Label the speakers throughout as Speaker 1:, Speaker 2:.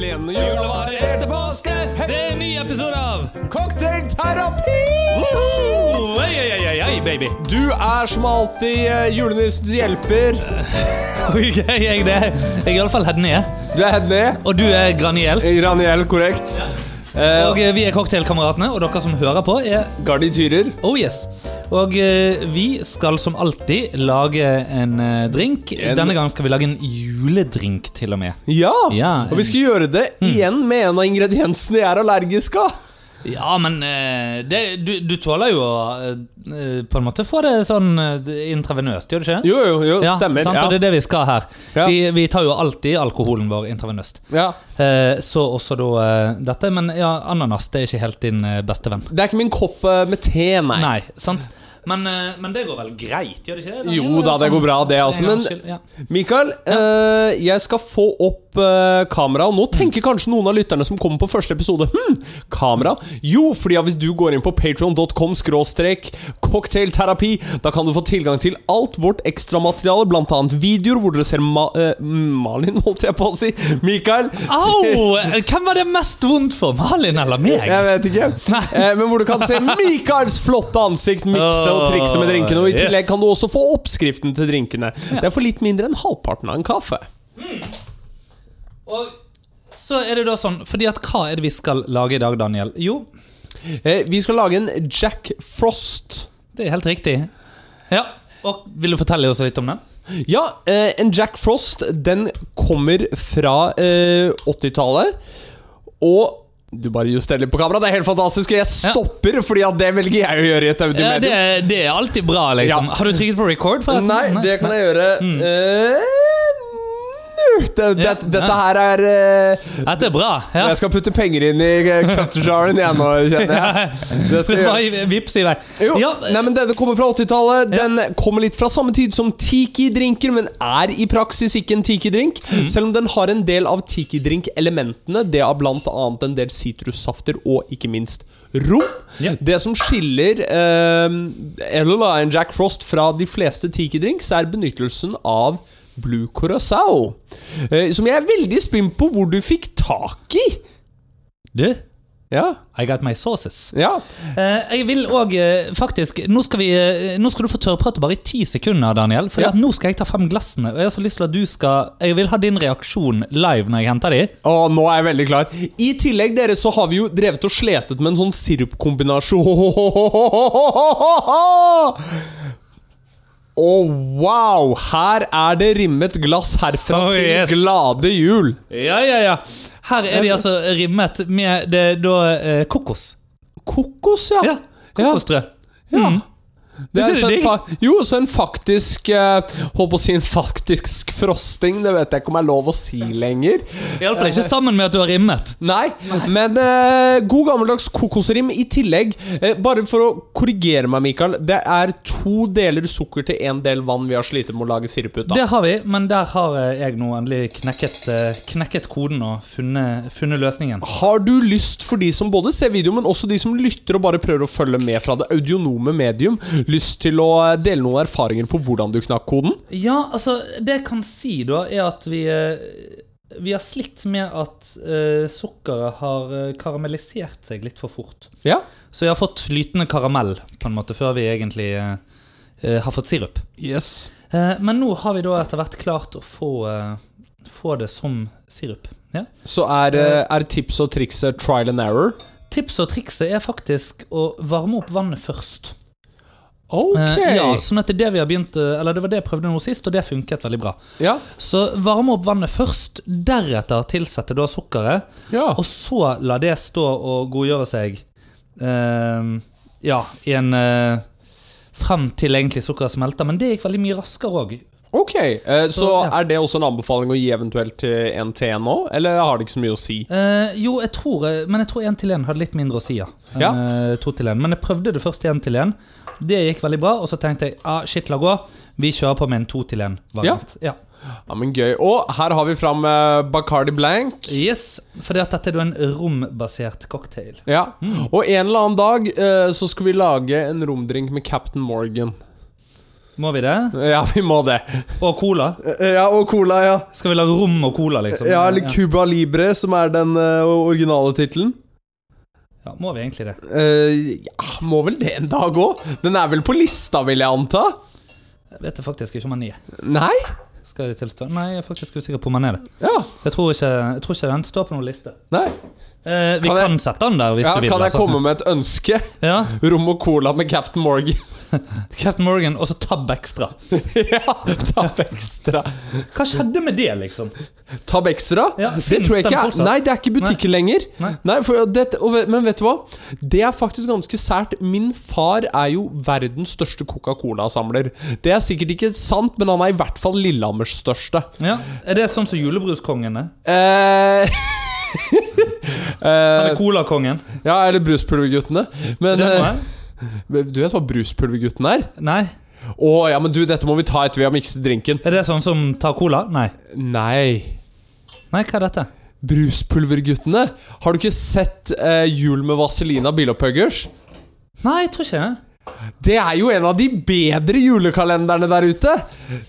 Speaker 1: igjen. Julevarer etter påske. Det er en ny episode av
Speaker 2: Cocktailterapi!
Speaker 1: Woho! Ei, ei, ei, ei, ei, baby.
Speaker 2: Du er som alltid eh, julenissens hjelper.
Speaker 1: Ok, jeg det. Jeg er iallfall Hedne.
Speaker 2: Du er Hedny.
Speaker 1: Og du er Graniel.
Speaker 2: Raniel, korrekt. Eh,
Speaker 1: Og eh, vi er Cocktailkameratene, og dere som hører på, er
Speaker 2: Garnityrer.
Speaker 1: Oh yes. Og eh, vi skal som alltid lage en eh, drink.
Speaker 2: En-
Speaker 1: Denne gangen skal vi lage en juledrink, til og med.
Speaker 2: Ja.
Speaker 1: Ja, Mm.
Speaker 2: Og vi skal gjøre det igjen med en av ingrediensene jeg er allergisk av.
Speaker 1: Ja, men eh, det, du, du tåler jo å eh, på en måte få det sånn eh, intravenøst, gjør du ikke? det?
Speaker 2: Jo, jo, jo,
Speaker 1: Ja,
Speaker 2: stemmer.
Speaker 1: Sant? Og det
Speaker 2: Ja.
Speaker 1: er det vi skal her.
Speaker 2: Ja.
Speaker 1: Vi, vi tar jo alltid alkoholen vår intravenøst.
Speaker 2: Ja.
Speaker 1: Eh, så også da eh, dette. Men ja, ananas det er ikke helt din eh, beste venn.
Speaker 2: Det er ikke min kopp eh, med te, nei.
Speaker 1: Nei, sant? Men, eh, men det går vel greit, gjør det ikke? det?
Speaker 2: Jo da, det går bra, det, altså,
Speaker 1: En
Speaker 2: men-
Speaker 1: gangs skyld, ja.
Speaker 2: Mikael, eh, jeg skal få opp eh, kamera. Og nå tenker kanskje noen av lytterne som kommer på første episode Hm, kamera? Jo, fordi at hvis du går inn på patreon.com skråstrek cocktailterapi, da kan du få tilgang til alt vårt ekstramateriale, blant annet videoer hvor dere ser Ma eh, Malin, holdt jeg på å si. Mikael.
Speaker 1: Au! Hvem var det mest vondt for? Malin eller meg?
Speaker 2: Jeg vet ikke. Eh, men hvor du kan se Mikaels flotte ansikt mikse og trikse med drinkene. Og i
Speaker 1: Åh, yes.
Speaker 2: tillegg kan du også få oppskriften til drinkene. Det er for litt mindre enn halvparten av en kaffe.
Speaker 1: Og så er det da sånn, fordi at hva er det vi skal lage i dag, Daniel? Jo,
Speaker 2: Eh, vi skal lage en Jack Frost.
Speaker 1: det er helt riktig. Ja, og Vil du fortelle oss litt om den?
Speaker 2: Ja, eh, en Jack Frost, den kommer fra eh, 80-tallet. Og du bare justerer litt på kamera, det er helt fantastisk. Og jeg stopper, fordi at det velger jeg å gjøre i et
Speaker 1: Ja, det,
Speaker 2: audiomedium.
Speaker 1: er- det er alltid bra, liksom.
Speaker 2: Ja.
Speaker 1: Har du trykket på record, forresten?
Speaker 2: Nei, det kan jeg gjøre eh, nu. det, det,
Speaker 1: Mm. Ja,
Speaker 2: Dette
Speaker 1: ja.
Speaker 2: her er eh,
Speaker 1: Dette er bra. Ja.
Speaker 2: Jeg skal putte penger inn i eh, cutjaren igjen nå, kjenner jeg. Det skal jeg gjøre.
Speaker 1: Bare vips i vei.
Speaker 2: Jo,
Speaker 1: Ja,
Speaker 2: nei, men Denne kommer fra 80-tallet. Den kommer litt fra samme tid som tiki-drinker, men er i praksis ikke en tiki-drink.
Speaker 1: Mhm.
Speaker 2: Selv om den har en del av tiki-drink-elementene. Det har bl.a. en del sitrussafter og ikke minst rom.
Speaker 1: Ja.
Speaker 2: Det som skiller eh, Elola and Jack Frost fra de fleste tiki-drinks, er benyttelsen av Blue Curacao. Eh, som jeg er veldig spent på hvor du fikk tak i.
Speaker 1: Du,
Speaker 2: Ja,
Speaker 1: I got my sauces.
Speaker 2: ja.
Speaker 1: Eh, jeg vil òg eh, faktisk nå skal, vi, eh, nå skal du få tørrprate bare i ti sekunder, Daniel. For
Speaker 2: Ja.
Speaker 1: at nå skal jeg ta frem glassene. Og jeg har så lyst til at du skal Jeg vil ha din reaksjon live når jeg henter de.
Speaker 2: Å, nå er jeg veldig klar. I tillegg dere, så har vi jo drevet og sletet med en sånn sirupkombinasjon. Å, wow! Her er det rimmet glass herfra
Speaker 1: Oh, yes.
Speaker 2: til glade jul.
Speaker 1: Ja, ja, ja. Her er de altså rimmet med det da eh, kokos.
Speaker 2: Kokos, ja.
Speaker 1: Ja, kokosstrø.
Speaker 2: Ja. Det
Speaker 1: Det
Speaker 2: er
Speaker 1: ser
Speaker 2: så en
Speaker 1: du digg.
Speaker 2: fa jo, så en faktisk eh, Håper å si en faktisk frosting. Det vet jeg ikke om er lov å si lenger.
Speaker 1: Iallfall ikke sammen med at du har rimmet.
Speaker 2: Nei, men eh, god gammeldags kokosrim i tillegg. Eh, bare for å korrigere meg, Mikael. Det er to deler sukker til én del vann vi har slitt med å lage sirup ut av.
Speaker 1: Det har vi, men der har eh, jeg nå endelig knekket, eh, knekket koden og funnet, funnet løsningen.
Speaker 2: Har du lyst, for de som både ser video, men også de som lytter og bare prøver å følge med fra det audionome medium, lyst til å eh, dele noen erfaringer på hvordan du knakk koden?
Speaker 1: Ja, altså, det jeg kan si da, er at vi eh, Vi har slitt med at eh, sukkeret har eh, karamellisert seg litt for fort.
Speaker 2: Ja.
Speaker 1: Så jeg har fått flytende karamell, på en måte, før vi egentlig eh, eh, har fått sirup.
Speaker 2: Yes.
Speaker 1: Eh, men nå har vi da etter hvert klart å få, eh, få det som sirup. Ja.
Speaker 2: Så er, eh, er tips og trikset trial and error?
Speaker 1: Tips og trikset er faktisk å varme opp vannet først.
Speaker 2: Ok.
Speaker 1: Eh, ja, sånn at det, er det, vi har begynt, eh, eller det var det jeg prøvde nå sist, og det funket veldig bra.
Speaker 2: ja.
Speaker 1: Så varme opp vannet først, deretter tilsette da sukkeret,
Speaker 2: ja.
Speaker 1: og så la det stå og godgjøre seg eh, ja, i en eh, frem til egentlig sukkeret smelter. Men det gikk veldig mye raskere òg.
Speaker 2: Ok, eh, så,
Speaker 1: Så, ja.
Speaker 2: er det også en anbefaling å gi eventuelt til en te nå, eller har det ikke så mye å si?
Speaker 1: jo, jeg tror, eh, men jeg tror én til én hadde litt mindre å si, ja. enn,
Speaker 2: Ja.
Speaker 1: eh, to til én. Men jeg prøvde det først én til én. Det gikk veldig bra, og så tenkte jeg ah, shit, la gå. Vi kjører på med en to til én-variant. Ja.
Speaker 2: Ja, men gøy. Og her har vi fram eh, Bacardi Blank.
Speaker 1: Yes, for dette er jo en rombasert cocktail.
Speaker 2: Ja.
Speaker 1: Mm.
Speaker 2: Og en eller annen dag eh, så skal vi lage en romdrink med Captain Morgan.
Speaker 1: Må vi det?
Speaker 2: Ja, vi må det.
Speaker 1: Og cola?
Speaker 3: Eh, Ja, og cola, ja.
Speaker 1: Skal vi lage rom og cola, liksom?
Speaker 3: Ja, eller Cuba Libre, som er den eh, originale tittelen.
Speaker 1: Ja, må vi egentlig det?
Speaker 2: Eh, ja, må vel det en dag òg? Den er vel på lista, vil jeg anta?
Speaker 1: Jeg vet det faktisk ikke om han er.
Speaker 2: Nei?
Speaker 1: Skal jeg tilstå? Nei, jeg er faktisk usikker på om han er det.
Speaker 2: Ja.
Speaker 1: Jeg tror ikke, jeg tror ikke den står på noen liste.
Speaker 2: Nei.
Speaker 1: Eh, vi
Speaker 2: Kan
Speaker 1: kan,
Speaker 2: jeg-
Speaker 1: sette den der, hvis
Speaker 2: Ja,
Speaker 1: du vil.
Speaker 2: kan jeg
Speaker 1: altså.
Speaker 2: komme med et ønske?
Speaker 1: Ja,
Speaker 2: Rom og cola med Captain Morgan.
Speaker 1: Captain Morgan, og så Tab Extra.
Speaker 2: ja, Tab Extra.
Speaker 1: Hva skjedde med det, liksom?
Speaker 2: Tab Extra?
Speaker 1: Ja,
Speaker 2: det tror jeg
Speaker 1: finnes den
Speaker 2: ikke er
Speaker 1: fortsatt?
Speaker 2: Nei, det er ikke butikker lenger. Nei.
Speaker 1: Nei.
Speaker 2: for det, og, ve- men vet du hva? Det er faktisk ganske sært. Min far er jo verdens største Coca-Cola-samler. Det er sikkert ikke sant, men han er i hvert fall Lillehammers største.
Speaker 1: Ja, Er det sånn som julebruskongen er?
Speaker 2: Eh,
Speaker 1: Han
Speaker 2: eh,
Speaker 1: er Colakongen?
Speaker 2: ja, eller Bruspulverguttene. Men
Speaker 1: Det må
Speaker 2: eh,
Speaker 1: jeg.
Speaker 2: du vet hva Bruspulvergutten er?
Speaker 1: Nei?
Speaker 2: Å ja, men du, dette må vi ta etter vi har mikset drinken.
Speaker 1: Er det sånn som tar cola? Nei.
Speaker 2: Nei.
Speaker 1: Nei, hva er dette?
Speaker 2: Bruspulverguttene. Har du ikke sett eh, Jul med Vaselina Billopphuggers?
Speaker 1: Nei, jeg tror ikke det.
Speaker 2: Det er jo en av de bedre julekalenderne der ute!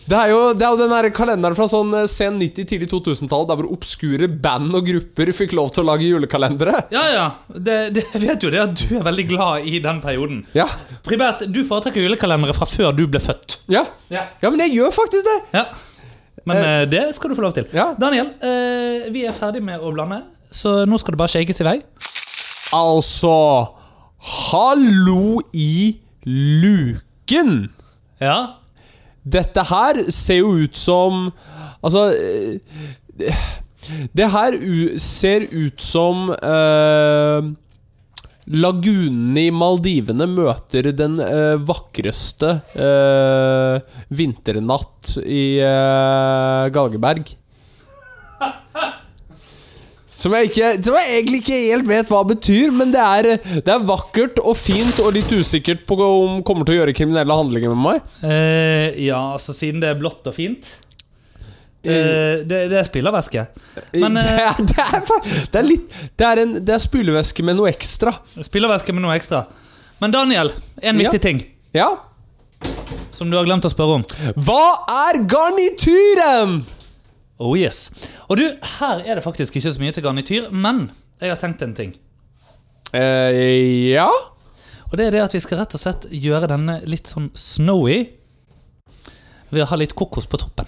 Speaker 2: Det er jo, det er jo den der kalenderen fra sånn eh, sen 90-, tidlig 2000-tall, der hvor obskure band og grupper fikk lov til å lage julekalendere.
Speaker 1: Ja, ja. Det, det, jeg vet jo det at du er veldig glad i den perioden.
Speaker 2: Ja,
Speaker 1: Pribert, du foretrekker julekalendere fra før du ble født.
Speaker 2: ja.
Speaker 1: Ja.
Speaker 2: ja men jeg gjør faktisk det!
Speaker 1: ja. Men eh, det skal du få lov til.
Speaker 2: Ja.
Speaker 1: Daniel, eh, vi er ferdig med å blande, så nå skal det bare shakes i vei.
Speaker 2: Altså Hallo i luken!
Speaker 1: Ja.
Speaker 2: Dette her ser jo ut som Altså eh, Det her u ser ut som eh, Lagunen i Maldivene møter den eh, vakreste eh, vinternatt i eh, Galgeberg. Som jeg, ikke, som jeg egentlig ikke helt vet hva betyr, men det er, det er vakkert og fint og litt usikkert på om kommer til å gjøre kriminelle handlinger med meg.
Speaker 1: Eh, ja, altså siden det er blått og fint eh, Det, det er spillervæske. Men
Speaker 2: det,
Speaker 1: eh,
Speaker 2: er, det, er, fa- det er litt Det er, en, det er spylevæske med noe ekstra.
Speaker 1: spillervæske med noe ekstra. Men Daniel,
Speaker 2: Ja.
Speaker 1: en viktig ting
Speaker 2: Ja.
Speaker 1: som du har glemt å spørre om.
Speaker 2: Hva er garnityren?
Speaker 1: Oh yes. Og du, her er det faktisk ikke så mye til garnityr, men jeg har tenkt en ting.
Speaker 2: eh ja
Speaker 1: Og det er det at vi skal rett og slett gjøre denne litt sånn snowy ved å ha litt kokos på
Speaker 2: Å,
Speaker 1: toppen.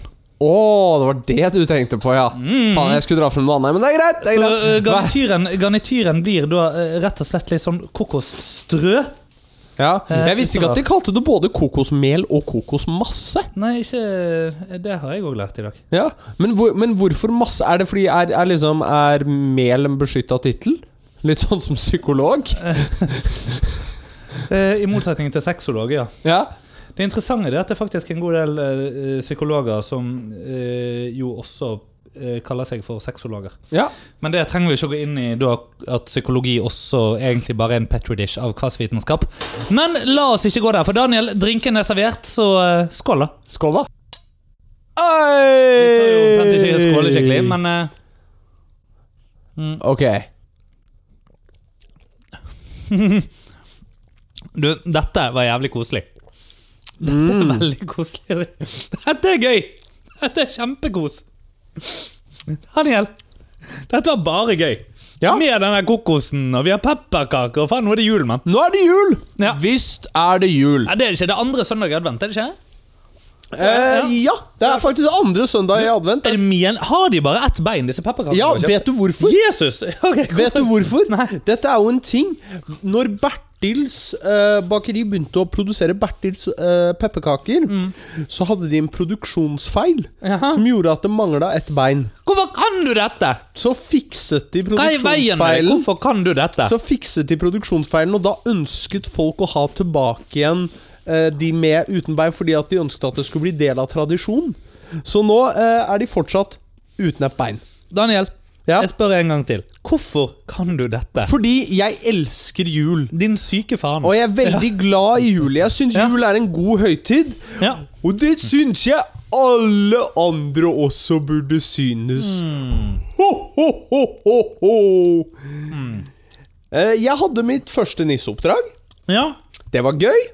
Speaker 2: det var det du tenkte på, ja. Faen, jeg skulle dra frem noe annet, men det er greit. Det er
Speaker 1: Så
Speaker 2: greit.
Speaker 1: eh, garnityren, garnityren blir da eh, rett og slett litt sånn kokosstrø.
Speaker 2: ja. Jeg
Speaker 1: Eh,
Speaker 2: visste ikke at de kalte det både kokosmel og kokosmasse.
Speaker 1: Nei, ikke eh, Det har jeg òg lært i dag.
Speaker 2: Ja. Men, hvor, men hvorfor masse? Er det fordi er, er, liksom, er mel en beskytta tittel? Litt sånn som psykolog?
Speaker 1: Eh, I motsetning til sexolog, ja.
Speaker 2: Ja.
Speaker 1: Det interessante er at det er faktisk en god del eh, psykologer som eh, jo også eh, kaller seg for sexologer.
Speaker 2: ja.
Speaker 1: Men det trenger vi ikke å gå inn i da at psykologi også egentlig bare er en petrodish av kvassvitenskap. Men la oss ikke gå der, for Daniel, drinken er servert, så eh, skål, da.
Speaker 2: Skål, da.
Speaker 1: Vi tar jo omtrent ikke skåle skikkelig, men eh,
Speaker 2: Ok.
Speaker 1: du, dette var jævlig koselig. Dette er veldig koselig. Dette er gøy! Dette er kjempekos. Daniel, dette var bare gøy.
Speaker 2: Ja.
Speaker 1: Med denne kokosen, og vi har pepperkaker, og faen, nå er det jul, mann.
Speaker 2: Nå er det jul!
Speaker 1: Ja.
Speaker 2: Visst er det jul.
Speaker 1: Ja, det er det ikke. Det er andre søndag i advent, er det ikke?
Speaker 2: Eh, ja, det er faktisk andre søndag i advent.
Speaker 1: Er det men- Har de bare ett bein, disse pepperkakene?
Speaker 2: Ja,
Speaker 1: du har kjøpt?
Speaker 2: vet du hvorfor?
Speaker 1: Jesus! Ok, kom.
Speaker 2: Vet du hvorfor?
Speaker 1: Nei.
Speaker 2: Dette er jo en ting. Når Bertils eh, bakeri begynte å produsere Bertils eh, pepperkaker, så hadde de en produksjonsfeil
Speaker 1: Mm. Jaha.
Speaker 2: som gjorde at det mangla et bein.
Speaker 1: Hvorfor kan du dette?!
Speaker 2: Så fikset de
Speaker 1: Hva er i veien med deg?
Speaker 2: produksjonsfeilen.
Speaker 1: Hvorfor kan du dette?
Speaker 2: Så fikset de produksjonsfeilen, og da ønsket folk å ha tilbake igjen eh, de med uten bein, fordi at de ønsket at det skulle bli del av tradisjon. Så nå eh, er de fortsatt uten et bein.
Speaker 1: Daniel,
Speaker 2: Ja.
Speaker 1: jeg spør en gang til. Hvorfor kan du dette?
Speaker 2: Fordi jeg elsker jul.
Speaker 1: Din syke faen.
Speaker 2: Og jeg er veldig glad i jul. Jeg syns
Speaker 1: Ja.
Speaker 2: jul er en god høytid.
Speaker 1: Ja.
Speaker 2: Og det syns jeg alle andre også burde synes.
Speaker 1: Hmm.
Speaker 2: Ho, ho, ho, ho, ho.
Speaker 1: Hmm.
Speaker 2: Eh, Jeg hadde mitt første nisseoppdrag.
Speaker 1: ja.
Speaker 2: Det var gøy.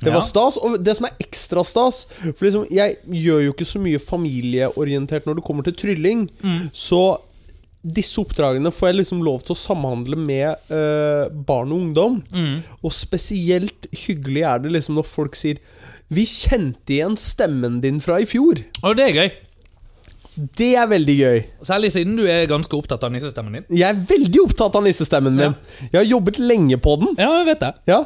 Speaker 2: Det
Speaker 1: Ja.
Speaker 2: var stas. Og det som er ekstra stas For liksom, jeg gjør jo ikke så mye familieorientert når det kommer til trylling. Så disse oppdragene får jeg liksom lov til å samhandle med eh, barn og ungdom. Og spesielt hyggelig er det liksom når folk sier vi kjente igjen stemmen din fra i fjor.
Speaker 1: Og det er gøy.
Speaker 2: Det er veldig gøy.
Speaker 1: Særlig siden du er ganske opptatt av nissestemmen din.
Speaker 2: Jeg er veldig opptatt av nissestemmen min. Jeg har jobbet lenge på den.
Speaker 1: Ja, jeg vet det.
Speaker 2: Ja.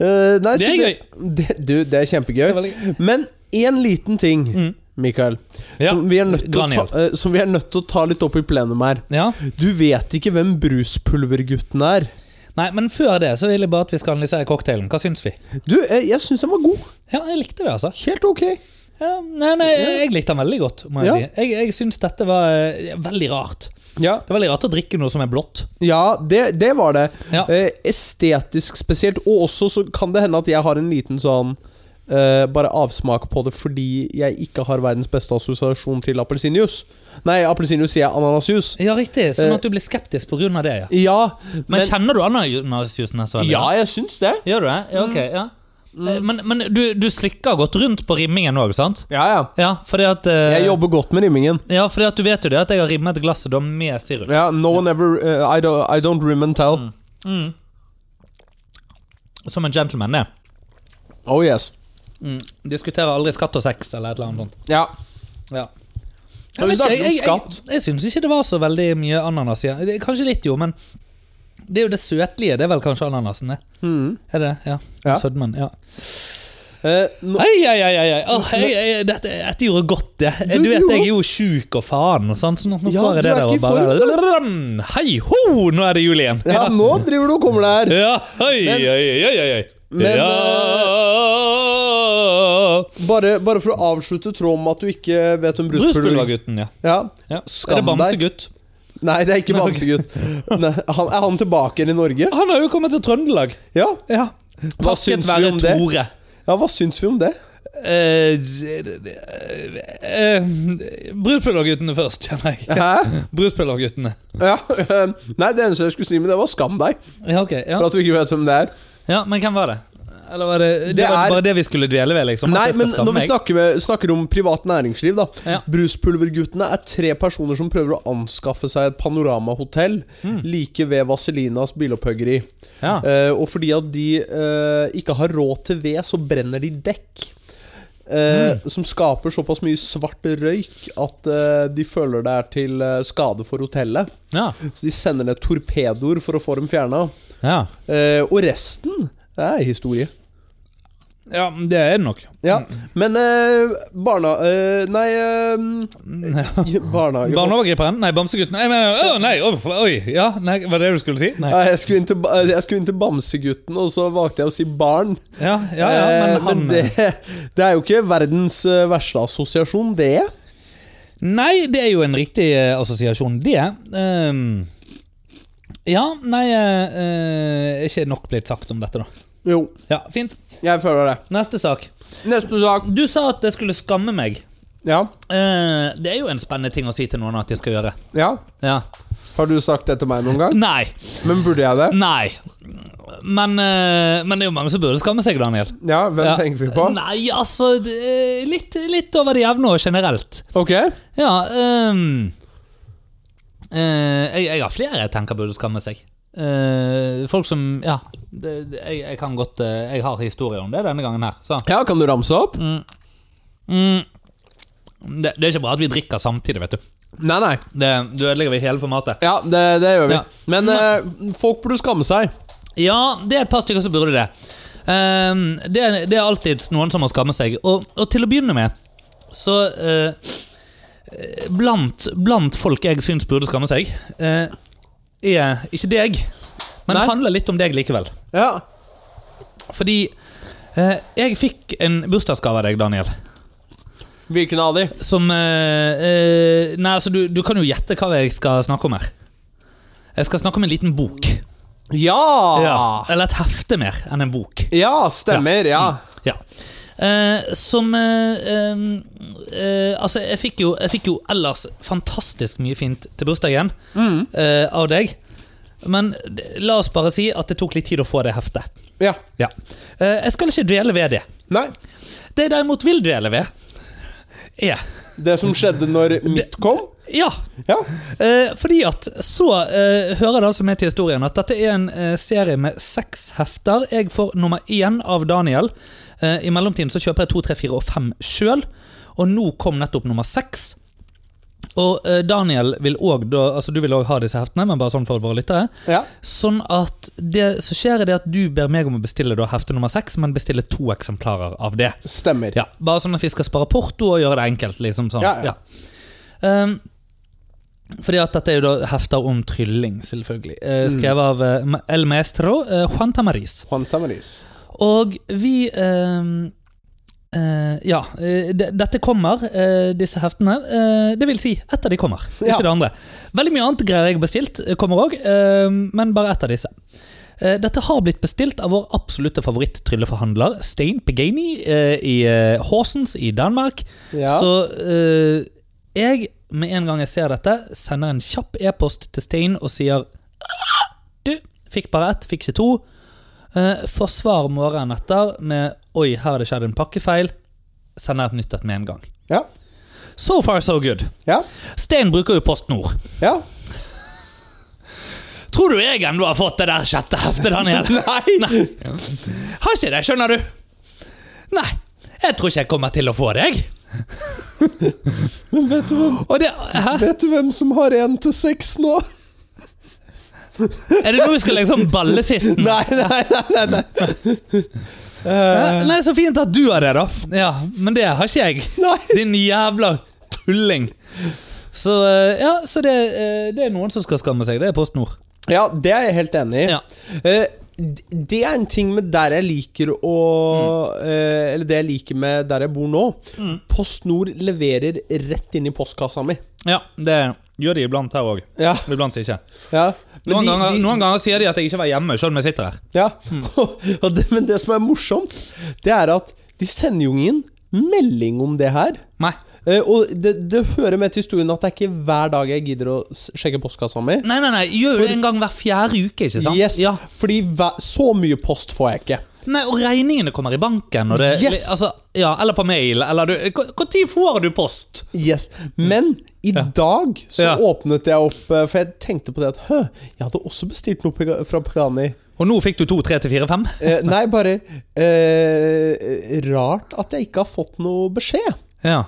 Speaker 2: Eh, nei,
Speaker 1: Det
Speaker 2: så
Speaker 1: er
Speaker 2: Det, du, det er kjempegøy.
Speaker 1: er veldig Mm.
Speaker 2: Men én liten ting, Mikael,
Speaker 1: Ja,
Speaker 2: som, vi er nødt til å ta,
Speaker 1: Graniel.
Speaker 2: eh, som vi er nødt til å ta litt opp i plenum her.
Speaker 1: Ja.
Speaker 2: Du vet ikke hvem bruspulvergutten er.
Speaker 1: Nei, men før det så vil jeg bare at vi skal analysere cocktailen. Hva syns vi?
Speaker 2: Du, jeg, jeg syns den var god.
Speaker 1: Ja, jeg likte det, altså.
Speaker 2: Helt ok.
Speaker 1: Ja, nei, nei, jeg, jeg likte den veldig godt, må jeg
Speaker 2: Ja.
Speaker 1: si. Jeg, jeg syns dette var eh, veldig rart.
Speaker 2: Ja,
Speaker 1: Det er veldig rart å drikke noe som er blått.
Speaker 2: ja det, det var det.
Speaker 1: Ja.
Speaker 2: Eh, estetisk spesielt. Og også så kan det hende at jeg har en liten sånn eh, bare avsmak på det fordi jeg ikke har verdens beste assosiasjon til appelsinjuice. Nei, appelsinjuice sier jeg ananasjuice.
Speaker 1: Ja, riktig. Sånn at du blir skeptisk pga. det, ja.
Speaker 2: Ja, Eh,
Speaker 1: Men
Speaker 2: men
Speaker 1: kjenner du ananasjuicen her så veldig?
Speaker 2: Ja, Mm. jeg syns det.
Speaker 1: Gjør du det? Ja, ok, ja. Eh, Men, men du, du slikker godt rundt på rimmingen òg, sant?
Speaker 2: Ja, ja.
Speaker 1: Ja, fordi at eh,
Speaker 2: Jeg jobber godt med rimmingen.
Speaker 1: Ja, fordi at du vet jo det at jeg har rimmet glasset da med sirup.
Speaker 2: Ja, no one ever eh, I, don't, I don't rim and tell.
Speaker 1: Som en gentleman, det.
Speaker 2: Oh yes.
Speaker 1: Diskuterer aldri skatt og sex eller et eller annet sånt.
Speaker 2: Ja.
Speaker 1: Ja.
Speaker 2: Har vi
Speaker 1: vet
Speaker 2: snakket
Speaker 1: ikke, jeg,
Speaker 2: om
Speaker 1: jeg,
Speaker 2: skatt?
Speaker 1: jeg, jeg syns ikke det var så veldig mye ananas. Ja. Det- Kanskje litt, jo, men det er jo det søtlige. Det er vel kanskje ananasen, det. Er det det? Ja.
Speaker 2: Mm. Ja.
Speaker 1: Sødmen. ja
Speaker 2: Eh, nå,
Speaker 1: Ei, ei, ei, ei, ei. Åh, ei, ei. Dette, dette gjorde godt, det. Du,
Speaker 2: Du
Speaker 1: vet,
Speaker 2: gjorde
Speaker 1: jeg er jo sjuk og faen, og sånn, så nå nå
Speaker 2: Ja,
Speaker 1: får jeg
Speaker 2: du
Speaker 1: det
Speaker 2: er
Speaker 1: der
Speaker 2: ikke
Speaker 1: og
Speaker 2: i
Speaker 1: bare
Speaker 2: form,
Speaker 1: Ram, Hei ho, nå er det jul igjen!
Speaker 2: ja, nå driver du og kommer der.
Speaker 1: ja. Oi,
Speaker 2: Men-
Speaker 1: oi, oi, oi, oi.
Speaker 2: Men,
Speaker 1: ja.
Speaker 2: Bare, bare for å avslutte tråden med at du ikke vet om bruspulver
Speaker 1: Brustbulvergutten, ja.
Speaker 2: Ja.
Speaker 1: ja.
Speaker 2: Skam
Speaker 1: Er det Bamsegutt?
Speaker 2: Nei, det er ikke bamsegutt. Nei, han, er han tilbake igjen i Norge?
Speaker 1: Han har jo kommet til Trøndelag.
Speaker 2: Ja.
Speaker 1: Ja.
Speaker 2: Hva
Speaker 1: Takket
Speaker 2: syns vi
Speaker 1: være
Speaker 2: om det?
Speaker 1: Tore.
Speaker 2: ja, hva syns vi om det?
Speaker 1: Eh, z- eh, eh, Brustbulverguttene først, kjenner jeg.
Speaker 2: Hæ?
Speaker 1: Brustbulverguttene.
Speaker 2: Ja. eh, Nei, det eneste jeg skulle si med det, var skam deg
Speaker 1: Ja, ok. Ja.
Speaker 2: for at du ikke vet hvem det er.
Speaker 1: Ja, men hvem var det? Eller var det, det,
Speaker 2: Det
Speaker 1: var
Speaker 2: er-
Speaker 1: bare det vi skulle dvele ved, liksom? at
Speaker 2: Nei,
Speaker 1: jeg skal
Speaker 2: men
Speaker 1: skamme
Speaker 2: når vi
Speaker 1: meg?
Speaker 2: snakker, med, snakker om privat næringsliv, da.
Speaker 1: Ja.
Speaker 2: Bruspulverguttene er tre personer som prøver å anskaffe seg et panoramahotell like ved Vaselinas bilopphøggeri.
Speaker 1: Hmm. ja.
Speaker 2: Eh, og fordi at de eh, ikke har råd til ved, så brenner de dekk. eh,
Speaker 1: Hmm.
Speaker 2: Som skaper såpass mye svart røyk at eh, de føler det er til eh, skade for hotellet.
Speaker 1: ja.
Speaker 2: Så de sender ned torpedoer for å få dem fjerna.
Speaker 1: ja.
Speaker 2: og resten er historie.
Speaker 1: Ja, men det er det nok.
Speaker 2: Ja, men eh, barna eh, Nei eh, Barnehage
Speaker 1: Barneovergriperen? Nei, Bamsegutten. Nei, men, å, nei, uff, oi! Ja, nei, var det det du skulle si? Nei.
Speaker 2: Nei, jeg, skulle inn til, ba- jeg skulle inn til Bamsegutten, og så valgte jeg å si barn.
Speaker 1: Ja, ja, ja, men
Speaker 2: Eh,
Speaker 1: han
Speaker 2: det, det er jo ikke verdens eh, verste assosiasjon, det.
Speaker 1: Nei, det er jo en riktig eh, assosiasjon, det. Ehm, ja, nei eh, eh, Ikke nok blitt sagt om dette, da.
Speaker 2: Jo,
Speaker 1: Ja, Fint.
Speaker 2: jeg føler det.
Speaker 1: Neste sak.
Speaker 2: Neste sak.
Speaker 1: Du sa at jeg skulle skamme meg.
Speaker 2: Ja.
Speaker 1: Eh, det er jo en spennende ting å si til noen at de skal gjøre.
Speaker 2: ja.
Speaker 1: Ja.
Speaker 2: Har du sagt det til meg noen gang?
Speaker 1: Nei.
Speaker 2: Men burde jeg det?
Speaker 1: Nei. Men, eh, men det er jo mange som burde skamme seg, Daniel.
Speaker 2: Ja, hvem
Speaker 1: Ja.
Speaker 2: tenker vi på?
Speaker 1: Nei, altså det- Litt, litt over det jevne og generelt.
Speaker 2: Ok.
Speaker 1: Ja ehm, eh, jeg, jeg har flere jeg tenker burde skamme seg. Eh, folk som Ja. Det, det, jeg, jeg kan godt eh, Jeg har historier om det denne gangen her. Så.
Speaker 2: Ja, kan du ramse opp?
Speaker 1: Mm. Det, det er ikke bra at vi drikker samtidig, vet du.
Speaker 2: Nei, nei.
Speaker 1: Det, du ødelegger vi hele formatet.
Speaker 2: Ja, det, det gjør vi.
Speaker 1: Ja.
Speaker 2: Men eh, folk burde skamme seg.
Speaker 1: Ja, det er et par stykker som burde det. Ehm, det, er- det er alltid noen som må skamme seg. Og, og til å begynne med, så eh, eh, blant, blant folk jeg syns burde skamme seg, eh, er ikke deg, men
Speaker 2: Nei.
Speaker 1: det handler litt om deg likevel.
Speaker 2: Ja.
Speaker 1: Fordi eh, jeg fikk en bursdagsgave av deg, Daniel,
Speaker 2: Hvilken av de?
Speaker 1: som eh, eh, Nei, altså, du, du kan jo gjette hva jeg skal snakke om her. Jeg skal snakke om en liten bok.
Speaker 2: Ja!
Speaker 1: Eller et hefte mer enn en bok.
Speaker 2: Ja, stemmer. Ja.
Speaker 1: Ja. Eh, som eh, eh, eh, Altså, jeg fikk, jo, jeg fikk jo ellers fantastisk mye fint til bursdagen eh, av deg. Men d- la oss bare si at det tok litt tid å få det heftet.
Speaker 2: Ja.
Speaker 1: Ja. Eh, Jeg skal ikke dvele ved det.
Speaker 2: Nei.
Speaker 1: Det jeg derimot vil dvele ved, er
Speaker 2: Det som skjedde når mitt kom?
Speaker 1: Ja,
Speaker 2: Ja.
Speaker 1: Eh, fordi at så eh, hører det altså med til historien at dette er en eh, serie med seks hefter. Jeg får nummer én av Daniel. Eh, I mellomtiden så kjøper jeg to, tre, fire og fem sjøl. Og nå kom nettopp nummer seks. Og eh, Daniel vil òg da Altså du vil òg ha disse heftene, men bare sånn for våre lyttere.
Speaker 2: ja.
Speaker 1: Sånn at det som skjer, er det at du ber meg om å bestille da hefte nummer seks, men bestille to eksemplarer av det.
Speaker 2: Stemmer.
Speaker 1: Ja, Bare sånn at vi skal spare porto og gjøre det enkelt. liksom sånn.
Speaker 2: Ja, ja.
Speaker 1: Ehm, fordi at dette er jo da hefter om trylling, selvfølgelig. Eh,
Speaker 2: Mm.
Speaker 1: skrevet av eh, Ma- El Maestro eh, Juan Tamariz.
Speaker 2: Juan Tamaris.
Speaker 1: Og vi ehm, eh, Ja, eh, de, dette kommer, eh, disse heftene. Eh, det vil si, ett av de kommer,
Speaker 2: Ja.
Speaker 1: ikke det andre. Veldig mye annet greier jeg har bestilt, eh, kommer òg, men bare ett av disse. Eh, Dette har blitt bestilt av vår absolutte favoritt-trylleforhandler, Stein Pegani, eh, i eh, Horsens i Danmark.
Speaker 2: Ja.
Speaker 1: Så eh, jeg, med en gang jeg ser dette, sender en kjapp e-post til Stein og sier Du, fikk bare ett, fikk ikke to. Eh, Får svar morgenen etter med Oi, her har det skjedd en pakkefeil. Sender et nytt et med en gang.
Speaker 2: Ja.
Speaker 1: So far, so good.
Speaker 2: Ja.
Speaker 1: Stein bruker jo Post Nord.
Speaker 2: ja.
Speaker 1: Tror du jeg ennå har fått det der sjette heftet, Daniel?
Speaker 2: Nei.
Speaker 1: Nei. Har ikke det, skjønner du. Nei, jeg tror ikke jeg kommer til å få deg.
Speaker 2: Men vet du, hvem,
Speaker 1: Og det, hæ?
Speaker 2: vet du hvem som har én til seks nå?
Speaker 1: Er det nå vi skal liksom balle sist? nå?
Speaker 2: Nei, nei, nei. nei, nei. Eh,
Speaker 1: Hæ? Eh, Nei, så fint at du har det, da. Ja, Men det har ikke jeg. Din jævla tulling. Så eh, ja, så det, eh, det er noen som skal skamme seg. Det er Post Nord.
Speaker 2: Ja, det er jeg helt enig i.
Speaker 1: Ja.
Speaker 2: Eh, d- det er en ting med der jeg liker å eh, Eller det jeg liker med der jeg bor nå. Post Nord leverer rett inn i postkassa mi.
Speaker 1: ja, det gjør de iblant her òg.
Speaker 2: Ja,
Speaker 1: Iblant ikke.
Speaker 2: ja. Men
Speaker 1: Noen,
Speaker 2: de-
Speaker 1: ganger,
Speaker 2: de-
Speaker 1: noen ganger sier de at jeg ikke var hjemme, selv om jeg sitter her.
Speaker 2: Ja. Og det, men det som er morsomt, det er at de sender jo ingen melding om det her.
Speaker 1: Nei,
Speaker 2: Eh, og det, det hører med til historien at det er ikke hver dag jeg gidder å s- sjekke postkassa mi.
Speaker 1: nei, nei, nei. gjør jo det en gang hver fjerde uke, ikke sant?
Speaker 2: Yes,
Speaker 1: Ja.
Speaker 2: Fordi hver, så mye post får jeg ikke.
Speaker 1: Nei, og regningene kommer i banken, og det,
Speaker 2: Yes!
Speaker 1: altså, ja, eller på mail. Eller du, hvor- hvor tid får du post?
Speaker 2: Yes, Men i dag så
Speaker 1: Ja.
Speaker 2: åpnet jeg opp eh, For jeg tenkte på det at Hø, jeg hadde også bestilt noe pega- fra Pagani.
Speaker 1: Og nå fikk du to, tre til fire, fem.
Speaker 2: Eh, nei, bare eh, Rart at jeg ikke har fått noe beskjed.
Speaker 1: Ja.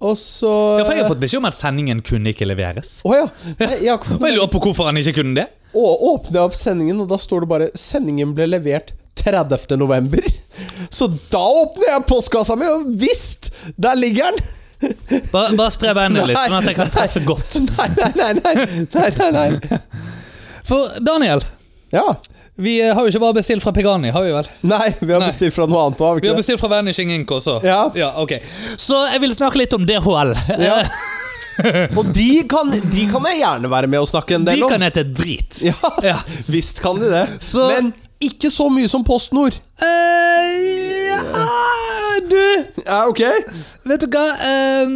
Speaker 2: Og så
Speaker 1: ja, for jeg har fått beskjed om at sendingen kunne ikke leveres.
Speaker 2: Å ja. Nei, jeg har ikke fått
Speaker 1: Og jeg lurer på hvorfor han ikke kunne det.
Speaker 2: Og åpner jeg opp sendingen, og da står det bare 'Sendingen ble levert 30. november'. Så da åpner jeg postkassa mi, og visst! Der ligger den!
Speaker 1: Bare, bare spre beina litt, sånn at jeg kan treffe godt.
Speaker 2: Nei, nei, nei. nei, nei, nei, nei.
Speaker 1: For Daniel,
Speaker 2: Ja.
Speaker 1: vi eh, har jo ikke bare bestilt fra Pegani, har vi vel?
Speaker 2: Nei, vi har
Speaker 1: Nei.
Speaker 2: bestilt fra noe annet. Har vi
Speaker 1: Vi har
Speaker 2: ikke det?
Speaker 1: bestilt fra Vanishing Ink også.
Speaker 2: Ja.
Speaker 1: ok. Så jeg vil snakke litt om DHL.
Speaker 2: Ja.
Speaker 1: Eh,
Speaker 2: Og de kan, de kan jeg gjerne være med og snakke en
Speaker 1: De
Speaker 2: del om.
Speaker 1: kan hete drit.
Speaker 2: Ja,
Speaker 1: Ja.
Speaker 2: Visst kan de det.
Speaker 1: Så-
Speaker 2: Men ikke så mye som Post Nord.
Speaker 1: Eh, ja, Ah, du
Speaker 2: Ja, ok?
Speaker 1: Vet du hva, eh,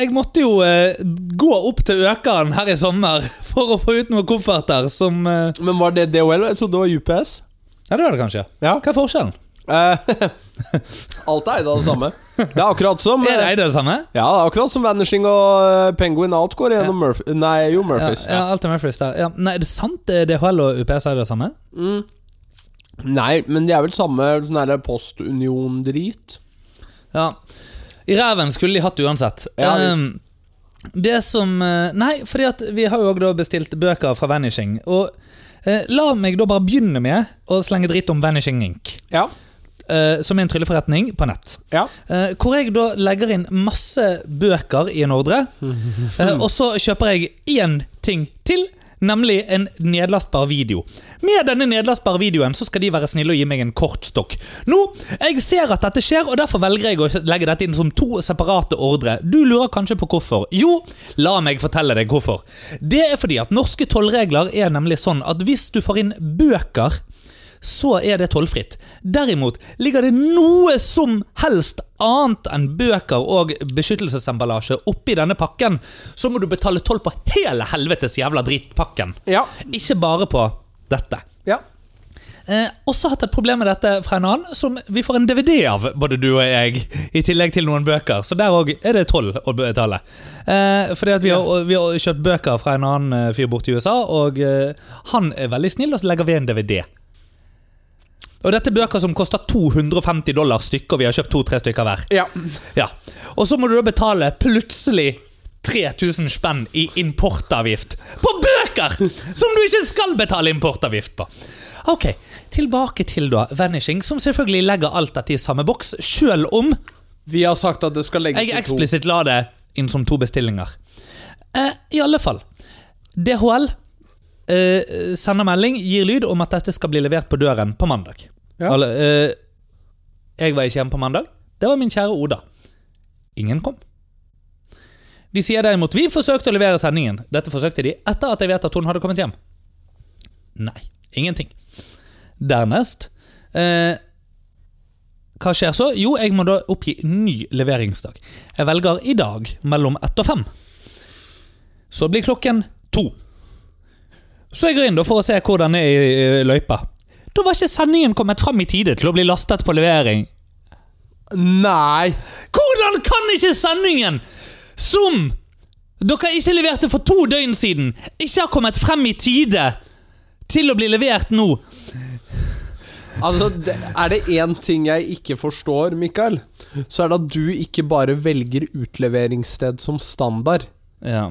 Speaker 1: jeg måtte jo eh, gå opp til økeren her i sommer for å få ut noen kofferter som eh,
Speaker 2: Men var det DHL? Jeg trodde det var UPS.
Speaker 1: Ja, det var det kanskje.
Speaker 2: Ja.
Speaker 1: Hva er forskjellen?
Speaker 2: Eh, Alt er eid av det samme. Det er akkurat som eh,
Speaker 1: Er det det samme?
Speaker 2: Ja, det er akkurat som Vanishing og eh, Penguin Out går gjennom Murph Nei, jo,
Speaker 1: Ja,
Speaker 2: Murphys.
Speaker 1: ja, alt er Murphys der. Ja. Nei, er det sant? Eh, DHL og UPS er det samme?
Speaker 2: Nei, men de er vel samme sånn her postunion-drit.
Speaker 1: Ja. I ræven skulle de hatt uansett.
Speaker 2: Ja, visst.
Speaker 1: Ehm, det som eh, Nei, fordi at vi har jo òg da bestilt bøker fra Vanishing. Og eh, la meg da bare begynne med å slenge dritt om Vanishing Ink,
Speaker 2: Ja.
Speaker 1: eh, som er en trylleforretning på nett.
Speaker 2: Ja.
Speaker 1: Eh, hvor jeg da legger inn masse bøker i en ordre. Eh, og så kjøper jeg én ting til, nemlig en nedlastbar video. Med denne nedlastbare videoen så skal de være snille og gi meg en kortstokk. Nå, jeg ser at dette skjer, og derfor velger jeg å legge dette inn som to separate ordre. Du lurer kanskje på hvorfor. Jo, la meg fortelle deg hvorfor. Det er fordi at norske tollregler er nemlig sånn at hvis du får inn bøker så er det tollfritt. Derimot ligger det noe som helst annet enn bøker og beskyttelsesemballasje oppi denne pakken, så må du betale toll på hele helvetes jævla dritpakken.
Speaker 2: Ja.
Speaker 1: Ikke bare på dette.
Speaker 2: ja.
Speaker 1: Eh, også hatt et problem med dette fra en annen, som vi får en DVD av, både du og jeg, i tillegg til noen bøker. Så der òg er det tolv å betale. Eh, fordi at vi har, og vi har kjøpt bøker fra en annen eh, fyr borte i USA, og eh, han er veldig snill, og så legger vi en DVD. Og dette er bøker som koster 250 dollar stykket, og vi har kjøpt to-tre stykker hver.
Speaker 2: Ja.
Speaker 1: Ja. Og så må du da betale plutselig 3000 spenn i importavgift på bøker! Som du ikke skal betale importavgift på. Ok, tilbake til da Vanishing, som selvfølgelig legger alt dette i samme boks, sjøl om
Speaker 2: Vi har sagt at det skal legges
Speaker 1: jeg eksplisitt la det inn som to bestillinger. Eh, I alle fall. DHL eh, sender melding, gir lyd om at dette skal bli levert på døren på mandag.
Speaker 2: Ja.
Speaker 1: Alle, eh, jeg var ikke hjemme på mandag. Det var min kjære Oda. Ingen kom. De sier derimot vi forsøkte å levere sendingen. Dette forsøkte de etter at jeg vet at hun hadde kommet hjem. Nei, ingenting. Dernest eh, Hva skjer så? Jo, jeg må da oppgi ny leveringsdag. Jeg velger i dag mellom ett og fem. Så blir klokken to. Så jeg går inn da for å se hvordan det er i i løypa. Da var ikke sendingen kommet fram i tide til å bli lastet på levering.
Speaker 2: Nei!
Speaker 1: Hvordan kan ikke sendingen som dere ikke leverte for to døgn siden, ikke har kommet frem i tide til å bli levert nå?
Speaker 2: Altså, det, er det én ting jeg ikke forstår, Mikael, så er det at du ikke bare velger utleveringssted som standard.
Speaker 1: Ja.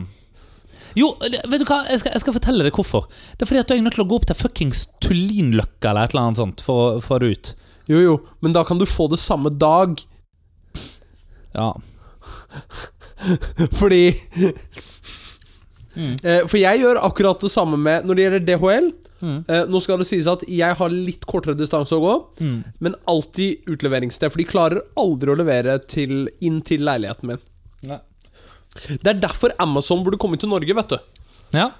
Speaker 1: Jo, det- vet du hva? Jeg skal, jeg skal fortelle deg hvorfor. Det er fordi at du er nødt til å gå opp til fuckings Tullinløkka eller et eller annet sånt for å få det ut.
Speaker 2: Jo, jo, men da kan du få det samme dag,
Speaker 1: Ja.
Speaker 2: fordi Eh, For jeg gjør akkurat det samme med når det gjelder DHL.
Speaker 1: Mm.
Speaker 2: Eh, nå skal det sies at jeg har litt kortere distanse å gå,
Speaker 1: Mm.
Speaker 2: men alltid utleveringssted. For de klarer aldri å levere til, inn til leiligheten min.
Speaker 1: Nei.
Speaker 2: Det er derfor Amazon burde komme til Norge, vet du.
Speaker 1: ja.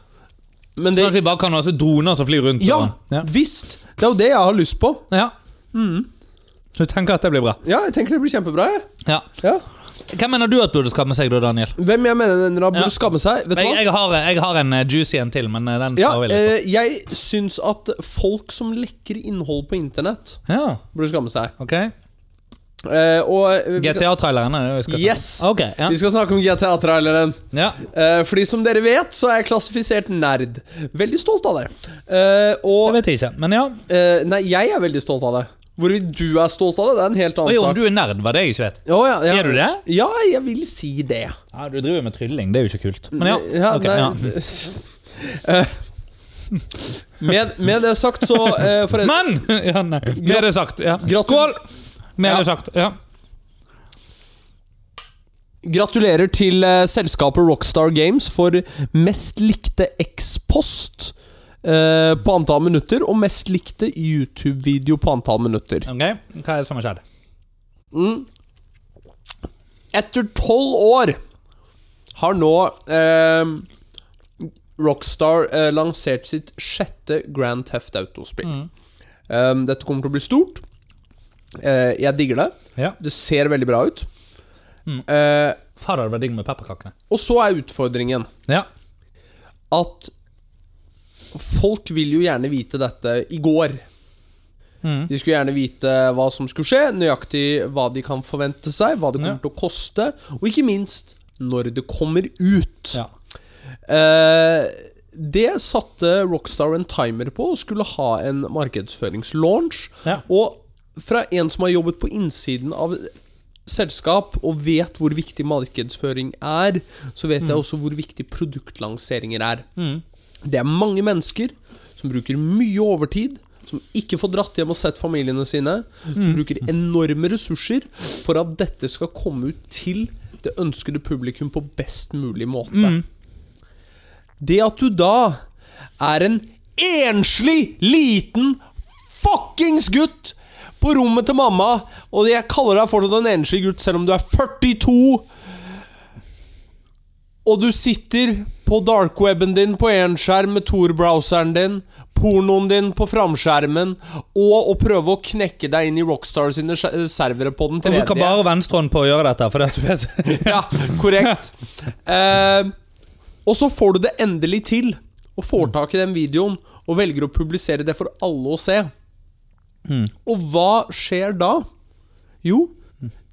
Speaker 2: Men
Speaker 1: Sånn at
Speaker 2: det,
Speaker 1: vi bare kan ha sånne droner som flyr rundt.
Speaker 2: ja,
Speaker 1: og- ja.
Speaker 2: visst! Det er jo det jeg har lyst på.
Speaker 1: ja. Så du tenker at det blir bra?
Speaker 2: Ja, jeg tenker det blir kjempebra. Jeg.
Speaker 1: Ja.
Speaker 2: Ja.
Speaker 1: Hvem mener du at burde skamme seg, da, Daniel?
Speaker 2: Hvem jeg mener den burde
Speaker 1: Ja.
Speaker 2: skamme seg, vet du hva?
Speaker 1: Jeg, jeg, har, jeg har en eh, juicy en til, men eh, den
Speaker 2: Ja,
Speaker 1: sparer vi litt på.
Speaker 2: eh, jeg syns at folk som lekker innhold på internett,
Speaker 1: Ja,
Speaker 2: burde skamme seg.
Speaker 1: ok
Speaker 2: Eh, og eh, vi kan-
Speaker 1: GTA-traileren er det vi skal ta.
Speaker 2: Yes!
Speaker 1: Ok, ja.
Speaker 2: Vi skal snakke om GTA-traileren.
Speaker 1: ja.
Speaker 2: Eh, fordi som dere vet, så er jeg klassifisert nerd. Veldig stolt av det. Eh,
Speaker 1: Jeg
Speaker 2: og
Speaker 1: vet ikke, men ja.
Speaker 2: eh, Nei, jeg er veldig stolt av det. Hvorvidt du er stolt av det, det er en helt
Speaker 1: Oi,
Speaker 2: annen
Speaker 1: om
Speaker 2: sak.
Speaker 1: du er nerd, var det jeg ikke vet.
Speaker 2: Å, ja, ja.
Speaker 1: Er du det?
Speaker 2: Ja, jeg vil si det.
Speaker 1: Ja, Du driver med trylling, det er jo ikke kult. Men ja. ok,
Speaker 2: nei.
Speaker 1: ja.
Speaker 2: Eh, med, med det sagt, så eh, for en-
Speaker 1: Men! Ja, nei. Med det sagt. Ja. Skål! Med
Speaker 2: Ja.
Speaker 1: det sagt. Ja.
Speaker 2: Gratulerer til eh, selskapet Rockstar Games for mest likte X-post eh, på antall minutter, og mest likte YouTube-video på antall minutter.
Speaker 1: Ok, Hva er det som har skjedd?
Speaker 2: Etter tolv år har nå eh, Rockstar eh, lansert sitt sjette Grand Theft Auto-spill. Eh, dette kommer til å bli stort. Eh, jeg digger det.
Speaker 1: Ja.
Speaker 2: Det ser veldig bra ut.
Speaker 1: Mm.
Speaker 2: Eh,
Speaker 1: Fader, det var digg med pepperkakene.
Speaker 2: og så er utfordringen
Speaker 1: Ja.
Speaker 2: at folk vil jo gjerne vite dette i går.
Speaker 1: Mm.
Speaker 2: De skulle gjerne vite hva som skulle skje, nøyaktig hva de kan forvente seg, hva det kommer
Speaker 1: Ja.
Speaker 2: til å koste, og ikke minst når det kommer ut.
Speaker 1: Ja.
Speaker 2: Eh, det satte Rockstar en timer på og skulle ha en markedsføringslaunch.
Speaker 1: Ja.
Speaker 2: Og fra en som har jobbet på innsiden av selskap og vet hvor viktig markedsføring er, så vet jeg også hvor viktig produktlanseringer er.
Speaker 1: Mm.
Speaker 2: Det er mange mennesker som bruker mye overtid, som ikke får dratt hjem og sett familiene sine, som
Speaker 1: Mm.
Speaker 2: bruker enorme ressurser for at dette skal komme ut til det ønskede publikum på best mulig måte.
Speaker 1: Mm.
Speaker 2: Det at du da er en enslig liten fuckings gutt på rommet til mamma, og jeg kaller deg fortsatt en enslig gutt selv om du er 42 og du sitter på darkweben din på én skjerm med Tor-browseren din, pornoen din på framskjermen, og å prøve å knekke deg inn i Rockstar sine skje- servere på den
Speaker 1: Du bruker
Speaker 2: tredje.
Speaker 1: bare venstrehånd på å gjøre dette, for det at du vet
Speaker 2: Ja, korrekt. Eh, og så får du det endelig til, og får tak i den videoen, og velger å publisere det for alle å se.
Speaker 1: Mm.
Speaker 2: Og hva skjer da? Jo,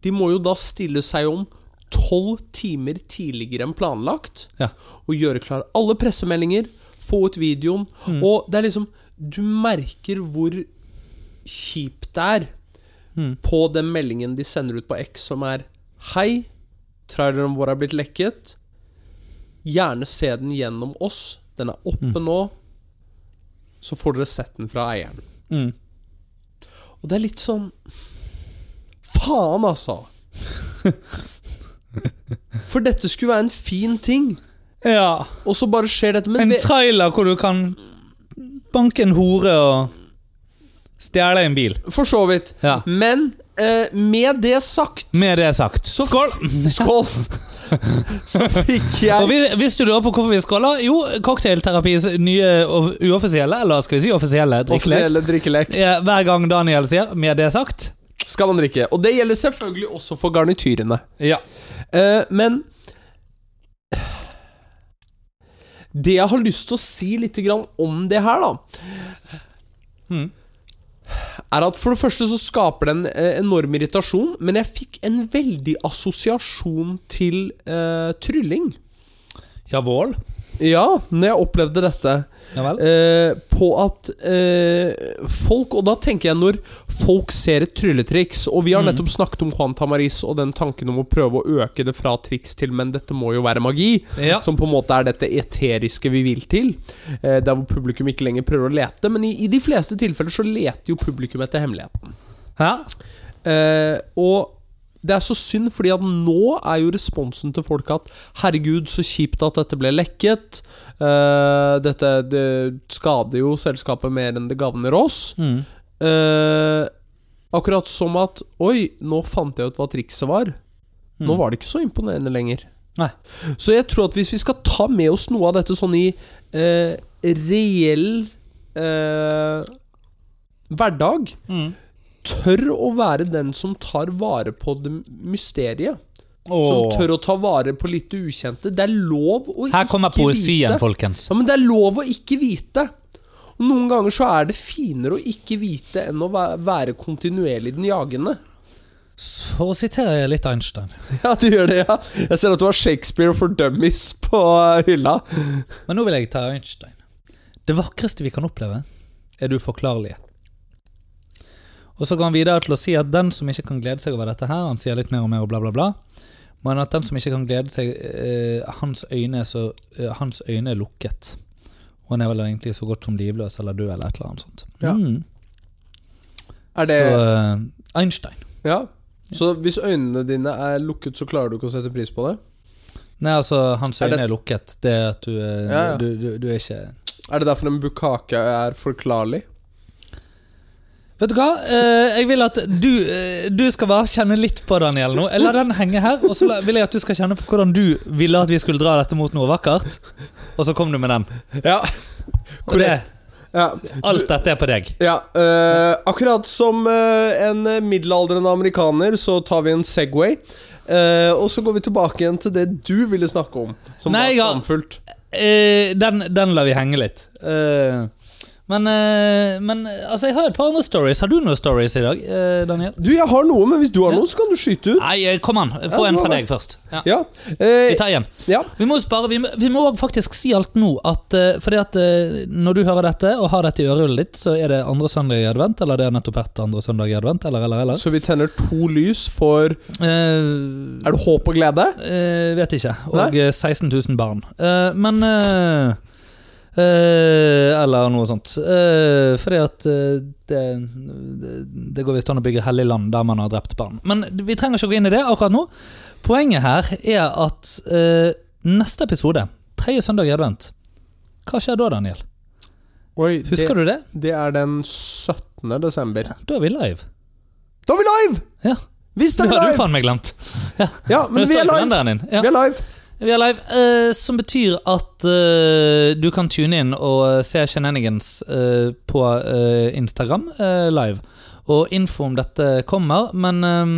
Speaker 2: de må jo da stille seg om tolv timer tidligere enn planlagt.
Speaker 1: Ja.
Speaker 2: Og gjøre klar alle pressemeldinger, få ut videoen. Og det er liksom Du merker hvor kjipt det er på den meldingen de sender ut på X som er Hei, traileren vår er blitt lekket. Gjerne se den gjennom oss. Den er oppe nå. Så får dere sett den fra eieren.
Speaker 1: Mm.
Speaker 2: Og det er litt sånn Faen, altså! For dette skulle være en fin ting,
Speaker 1: Ja.
Speaker 2: og så bare skjer dette. Men
Speaker 1: En
Speaker 2: ve-
Speaker 1: trailer hvor du kan banke en hore og stjele en bil.
Speaker 2: for så vidt.
Speaker 1: Ja.
Speaker 2: Men eh, med det sagt
Speaker 1: Med det sagt, skål!
Speaker 2: Skål! Så fikk
Speaker 1: Og
Speaker 2: jeg
Speaker 1: vi- Visste du da på hvorfor vi skåler? Jo, cocktailterapis nye og uoffisielle, eller skal vi si offisielle, drikkelek.
Speaker 2: offisielle drikkelek.
Speaker 1: Ja, Hver gang Daniel sier 'med det sagt'
Speaker 2: Skal man drikke. Og det gjelder selvfølgelig også for garnityrene.
Speaker 1: Ja.
Speaker 2: Eh, men Det jeg har lyst til å si litt grann om det her, da
Speaker 1: Mhm.
Speaker 2: Er at for det første så skaper det en eh, enorm irritasjon, men jeg fikk en veldig assosiasjon til eh, trylling.
Speaker 1: Jawohl.
Speaker 2: Ja, når jeg opplevde dette.
Speaker 1: Ja vel.
Speaker 2: Eh, på at eh, folk Og da tenker jeg når folk ser et trylletriks Og vi har
Speaker 1: Mm.
Speaker 2: nettopp snakket om Juan Tamaris og den tanken om å prøve å øke det fra triks til Men dette må jo være magi.
Speaker 1: Ja.
Speaker 2: Som på en måte er dette eteriske vi vil til. Eh, der hvor publikum ikke lenger prøver å lete. Men i, i de fleste tilfeller så leter jo publikum etter hemmeligheten.
Speaker 1: Hæ?
Speaker 2: Eh, og det er så synd, fordi at nå er jo responsen til folk at Herregud, så kjipt at dette ble lekket. Eh, dette det skader jo selskapet mer enn det gagner oss.
Speaker 1: Mm.
Speaker 2: Eh, akkurat som at Oi, nå fant jeg ut hva trikset var. Nå var det ikke så imponerende lenger.
Speaker 1: Nei.
Speaker 2: Så jeg tror at hvis vi skal ta med oss noe av dette sånn i eh, reell eh, hverdag
Speaker 1: Mm.
Speaker 2: tør å være den som tar vare på det mysteriet. Som
Speaker 1: Åh.
Speaker 2: tør å ta vare på litt det ukjente. Det er lov å
Speaker 1: Her kommer
Speaker 2: ikke
Speaker 1: poesien,
Speaker 2: vite.
Speaker 1: folkens.
Speaker 2: Ja, men det er lov å ikke vite. Og noen ganger så er det finere å ikke vite enn å væ- være kontinuerlig den jagende.
Speaker 1: For å sitere litt Einstein
Speaker 2: Ja, du gjør det, ja. Jeg ser at du har Shakespeare for dummies på eh, hylla.
Speaker 1: Men nå vil jeg ta Einstein. Det vakreste vi kan oppleve, er det uforklarlige. Og så går han videre til å si at den som ikke kan glede seg over dette her, han sier litt mer og mer og bla, bla, bla, men at den som ikke kan glede seg, eh, hans, øyne er så, eh, hans øyne er lukket. Og han er vel egentlig så godt som livløs eller død eller et eller annet sånt.
Speaker 2: Ja.
Speaker 1: Mm.
Speaker 2: Er det
Speaker 1: Så eh, Einstein.
Speaker 2: Ja. Så hvis øynene dine er lukket, så klarer du ikke å sette pris på det?
Speaker 1: Nei, altså, hans
Speaker 2: Er
Speaker 1: øyne
Speaker 2: det-
Speaker 1: er, lukket. Det er at du, er-
Speaker 2: Ja, ja.
Speaker 1: Du, du, du er ikke
Speaker 2: Er det derfor en bukake er forklarlig?
Speaker 1: Vet du hva? Eh, jeg vil at du, eh, du skal bare kjenne litt på Daniel nå. Jeg lar den henge her, og så la- vil jeg at du skal kjenne på hvordan du ville at vi skulle dra dette mot noe vakkert. Og så kom du med den.
Speaker 2: Ja.
Speaker 1: Og det,
Speaker 2: ja.
Speaker 1: alt dette er på deg.
Speaker 2: Ja, øh, akkurat som øh, en øh, middelaldrende amerikaner, så tar vi en Segway. øh, og så går vi tilbake igjen til det du ville snakke om, som var
Speaker 1: Nei, ja.
Speaker 2: skamfullt.
Speaker 1: Eh, den, den lar vi henge litt. Eh, men eh, men eh, altså, jeg har et par andre stories. Har du noen stories i dag, eh, Daniel?
Speaker 2: Du, jeg har noe, men hvis du har
Speaker 1: Ja.
Speaker 2: noe, så kan du skyte ut.
Speaker 1: Nei, eh, kom an. Få
Speaker 2: Ja,
Speaker 1: en
Speaker 2: bra,
Speaker 1: fra
Speaker 2: bra.
Speaker 1: deg først. Ja.
Speaker 2: Ja.
Speaker 1: Vi
Speaker 2: øh,
Speaker 1: tar igjen.
Speaker 2: ja.
Speaker 1: Vi må jo spare, vi må, vi må også faktisk si alt nå at, eh, Fordi at eh, når du hører dette og har dette i ørehullet ditt, så er det andre søndag i advent, eller det har nettopp vært andre søndag i advent, eller, eller, eller.
Speaker 2: Så vi tenner to lys for
Speaker 1: Eh,
Speaker 2: Er det håp og glede?
Speaker 1: eh, vet ikke. Og
Speaker 2: Nei.
Speaker 1: eh, 16 000 barn. Eh, men eh, eh, Eller noe sånt. Eh, fordi at eh, det, det- det går visst an å bygge hellig land der man har drept barn. Men vi trenger ikke å gå inn i det akkurat nå. Poenget her er at eh, neste episode, tredje søndag i advent, hva skjer da, Daniel?
Speaker 2: Oi,
Speaker 1: Husker
Speaker 2: det,
Speaker 1: du det?
Speaker 2: det er den 17. desember.
Speaker 1: Da er vi live.
Speaker 2: Da er vi live!
Speaker 1: Ja.
Speaker 2: Visst
Speaker 1: Det
Speaker 2: er vi
Speaker 1: har du
Speaker 2: live!
Speaker 1: faen meg glemt.
Speaker 2: Ja, men vi
Speaker 1: Det står
Speaker 2: er
Speaker 1: i
Speaker 2: live!
Speaker 1: kalenderen din. Ja.
Speaker 2: Vi er live.
Speaker 1: Vi er live, eh, som betyr at eh, du kan tune inn og eh, se Shenanigans eh, på eh, Instagram eh, live. Og info om dette kommer, men eh,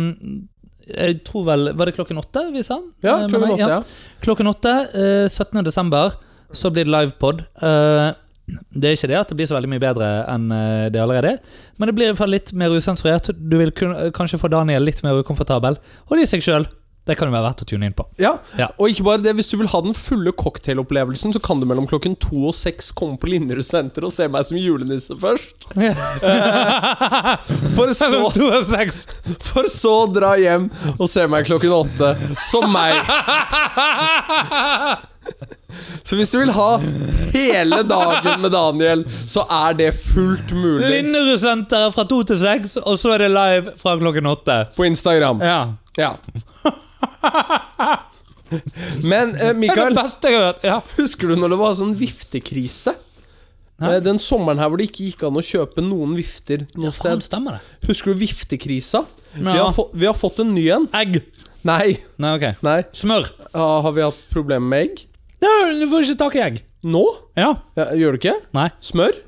Speaker 1: jeg tror vel Var det klokken åtte vi sa?
Speaker 2: Ja,
Speaker 1: Eh, med
Speaker 2: klokken
Speaker 1: meg?
Speaker 2: åtte, ja.
Speaker 1: Klokken åtte, eh, 17. desember, så blir det livepod. Eh, Det er ikke det at det blir så veldig mye bedre enn eh, det allerede er, men det blir i hvert fall litt mer usensurert. Du vil kun, eh, kanskje få Daniel litt mer ukomfortabel, og de seg sjøl. Det kan jo være verdt å tune inn på.
Speaker 2: Ja.
Speaker 1: Ja.
Speaker 2: og ikke bare det, hvis du vil ha den fulle cocktailopplevelsen, så kan du mellom klokken to og seks komme på Linderud senter og se meg som julenisse først. For så,
Speaker 1: Eh, to og seks.
Speaker 2: for så å dra hjem og se meg klokken åtte, som meg. Så hvis du vil ha hele dagen med Daniel, så er det fullt mulig
Speaker 1: Linderud-senteret fra to til seks, og så er det live fra klokken åtte.
Speaker 2: på Instagram.
Speaker 1: Ja.
Speaker 2: Ja. Men eh,
Speaker 1: Det er
Speaker 2: Mikael,
Speaker 1: det beste jeg har hørt. Ja.
Speaker 2: husker du når det var sånn viftekrise?
Speaker 1: Hæ?
Speaker 2: Eh, Den sommeren her hvor det ikke gikk an å kjøpe noen vifter noe
Speaker 1: Faen,
Speaker 2: sted.
Speaker 1: stemmer det?
Speaker 2: Husker du viftekrisa?
Speaker 1: Ja.
Speaker 2: Vi, har få, vi har fått en ny en.
Speaker 1: Egg.
Speaker 2: Nei.
Speaker 1: Nei, ok.
Speaker 2: Nei.
Speaker 1: Smør.
Speaker 2: Ah, har vi hatt problemer med egg?
Speaker 1: Nei, Du får ikke tak i egg.
Speaker 2: Nå?
Speaker 1: Ja.
Speaker 2: Ja, gjør du ikke?
Speaker 1: Nei.
Speaker 2: Smør?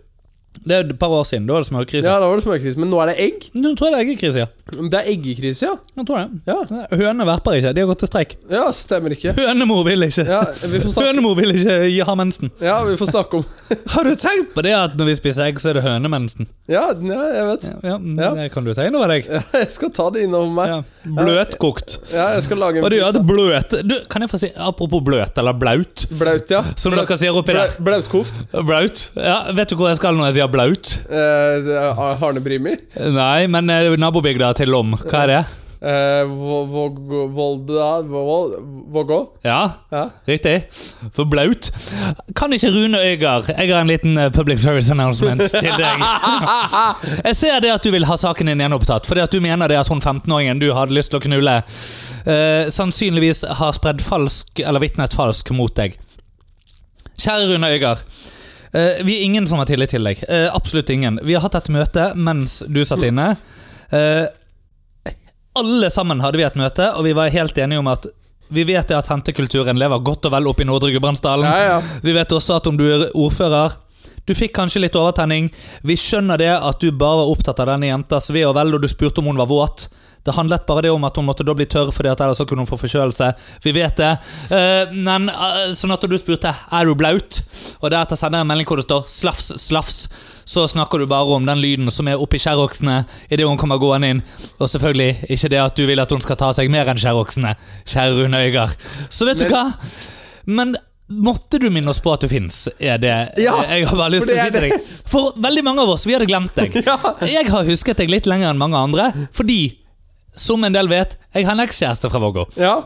Speaker 1: Det er et par år siden. Da var det smørkrise.
Speaker 2: Ja, da var det smørkrise, men nå er det egg.
Speaker 1: Nå tror jeg det er eggekrise, ja.
Speaker 2: Det er eggekrise, ja.
Speaker 1: Jeg tror det. Ja. Hønene verper ikke. De har gått til streik.
Speaker 2: Ja, stemmer ikke.
Speaker 1: Hønemor vil ikke.
Speaker 2: Ja, vi får snakke,
Speaker 1: Hønemor vil ikke gi- ha mensen.
Speaker 2: ja, vi får snakke om
Speaker 1: Har du tenkt på det at når vi spiser egg, så er det hønemensen?
Speaker 2: Ja, ja jeg vet.
Speaker 1: Ja,
Speaker 2: Ja.
Speaker 1: Det kan du ta inn over deg.
Speaker 2: Ja, jeg skal ta det innover meg.
Speaker 1: Ja. Bløtkokt.
Speaker 2: Ja, jeg skal lage en
Speaker 1: Og det gjør at bløt du, Kan jeg få si apropos bløt eller blaut?
Speaker 2: Blaut, ja.
Speaker 1: Som dere sier oppi der.
Speaker 2: Bla- Blautkoft.
Speaker 1: Blaut. Ja, vet du hvor jeg skal når jeg sier blaut?
Speaker 2: Eh, det er Arne Brimi.
Speaker 1: Nei, men eh, nabobygda til Lom, hva er det?
Speaker 2: Eh, Vo- Våg- Volda Våg- Vågå.
Speaker 1: Ja,
Speaker 2: Ja.
Speaker 1: riktig. For blaut. Kan ikke Rune Øygard Jeg har en liten eh, public service announcement til deg. Jeg ser det at du vil ha saken din gjenopptatt, fordi at du mener det at hun 15-åringen du hadde lyst til å knulle, eh, sannsynligvis har spredd falsk, eller vitnet falsk mot deg. Kjære Rune Øygard. eh, vi er ingen som har tillit til deg. Eh, absolutt ingen. Vi har hatt et møte mens du satt inne. Eh, alle sammen hadde vi et møte, og vi var helt enige om at vi vet det at hentekulturen lever godt og vel oppe i Nordre Gudbrandsdalen.
Speaker 2: Ja, ja.
Speaker 1: Vi vet også at om du er ordfører Du fikk kanskje litt overtenning. Vi skjønner det at du bare var opptatt av denne jentas ve og vel, og du spurte om hun var våt. Det handlet bare det om at hun måtte da bli tørr, Fordi at ellers så kunne hun få forkjølelse. Vi vet det. Eh, men eh, sånn at du spurte Er du blaut, og deretter sender jeg en melding hvor det står 'slafs, slafs', så snakker du bare om den lyden som er oppi skjærvoksene idet hun kommer gående inn. Og selvfølgelig ikke det at du vil at hun skal ta seg mer enn skjærvoksene, kjære Rune Øygard. Så vet du
Speaker 2: Men-
Speaker 1: hva? Men måtte du minne oss på at du fins, er det
Speaker 2: Ja,
Speaker 1: jeg har bare lyst
Speaker 2: for
Speaker 1: til
Speaker 2: det
Speaker 1: å
Speaker 2: er
Speaker 1: si til deg. For veldig mange av oss, vi hadde glemt deg. Jeg har husket deg litt lenger enn mange andre, fordi, som en del vet, jeg har en ekskjæreste fra Vågå.
Speaker 2: Ja.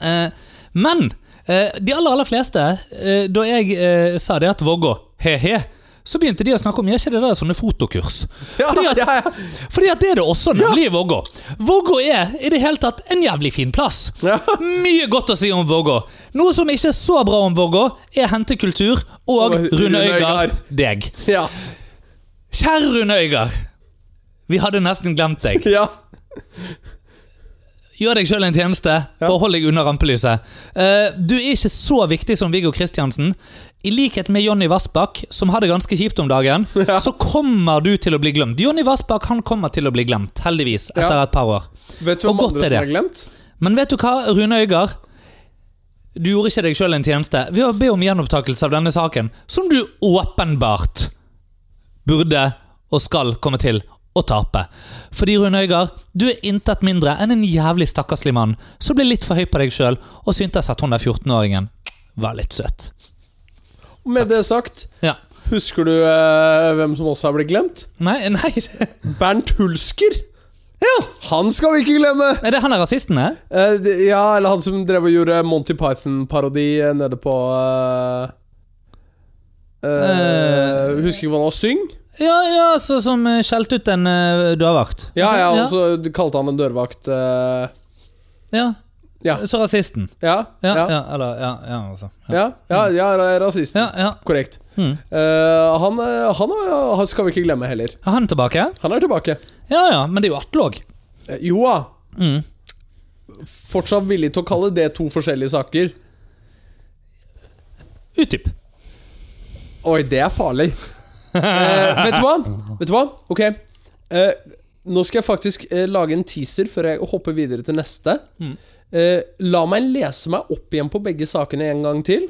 Speaker 1: Eh, men eh, de aller aller fleste, eh, da jeg eh, sa det at Vågå he-he, så begynte de å snakke om gjør ikke det der sånne fotokurs.
Speaker 2: Ja,
Speaker 1: Fordi at-
Speaker 2: ja, ja.
Speaker 1: Fordi at det er det også nemlig i Vågå. Vågå er i det hele tatt en jævlig fin plass.
Speaker 2: Ja.
Speaker 1: Mye godt å si om Vågå. Noe som ikke er så bra om Vågå, er hentekultur og
Speaker 2: Og Rune
Speaker 1: Rune Øygard
Speaker 2: Øygard.
Speaker 1: deg.
Speaker 2: ja.
Speaker 1: Kjære Rune Øygard. Vi hadde nesten glemt deg.
Speaker 2: ja.
Speaker 1: Gjør deg sjøl en tjeneste. Bare hold deg unna rampelyset. Eh, du er ikke så viktig som Viggo Kristiansen. I likhet med Jonny Vassbakk, som har det ganske kjipt om dagen,
Speaker 2: Ja.
Speaker 1: så kommer du til å bli glemt. Jonny Vassbakk han kommer til å bli glemt, heldigvis, etter
Speaker 2: Ja.
Speaker 1: et par år.
Speaker 2: Vet du
Speaker 1: Og
Speaker 2: hvem
Speaker 1: godt
Speaker 2: andre
Speaker 1: er
Speaker 2: som
Speaker 1: det.
Speaker 2: har glemt?
Speaker 1: Men vet du hva, Rune Øygard? Du gjorde ikke deg sjøl en tjeneste ved å be om gjenopptakelse av denne saken, som du åpenbart burde og skal komme til å tape. Fordi, Rune Øygard, du er intet mindre enn en jævlig stakkarslig mann som ble litt for høy på deg sjøl og syntes at hun der 14-åringen var litt søt.
Speaker 2: Og Med det sagt,
Speaker 1: Ja.
Speaker 2: husker du eh, hvem som også har blitt glemt?
Speaker 1: Nei, nei det-
Speaker 2: Bernt Hulsker. Ja. Han skal vi ikke glemme!
Speaker 1: Er det han der rasisten er?
Speaker 2: Eh, det- ja, eller han som drev og gjorde Monty Python-parodi eh, nede på eh, eh, Husker ikke hva han var. Syng?
Speaker 1: Ja, ja, så, som eh, skjelte ut en eh, dørvakt.
Speaker 2: Ja, ja,
Speaker 1: ja,
Speaker 2: og så kalte han en dørvakt eh,
Speaker 1: ja.
Speaker 2: Ja.
Speaker 1: Så rasisten.
Speaker 2: ja, ja,
Speaker 1: Ja, ja. eller ja, ja, altså. Ja,
Speaker 2: ja, ja, ja, ra- rasisten.
Speaker 1: ja. ja.
Speaker 2: Korrekt.
Speaker 1: Mm.
Speaker 2: Eh, han, eh, han, er- han skal vi ikke glemme heller.
Speaker 1: Er han tilbake?
Speaker 2: Han er tilbake.
Speaker 1: Ja ja, men det er jo Atle òg.
Speaker 2: Eh, jo da.
Speaker 1: Mm.
Speaker 2: Fortsatt villig til å kalle det to forskjellige saker.
Speaker 1: Utdyp.
Speaker 2: Oi, det er farlig. Eh, vet du hva? Vet du hva? Ok. Eh, nå skal jeg faktisk eh, lage en teaser før jeg hopper videre til neste.
Speaker 1: Mm.
Speaker 2: Eh, la meg lese meg opp igjen på begge sakene en gang til.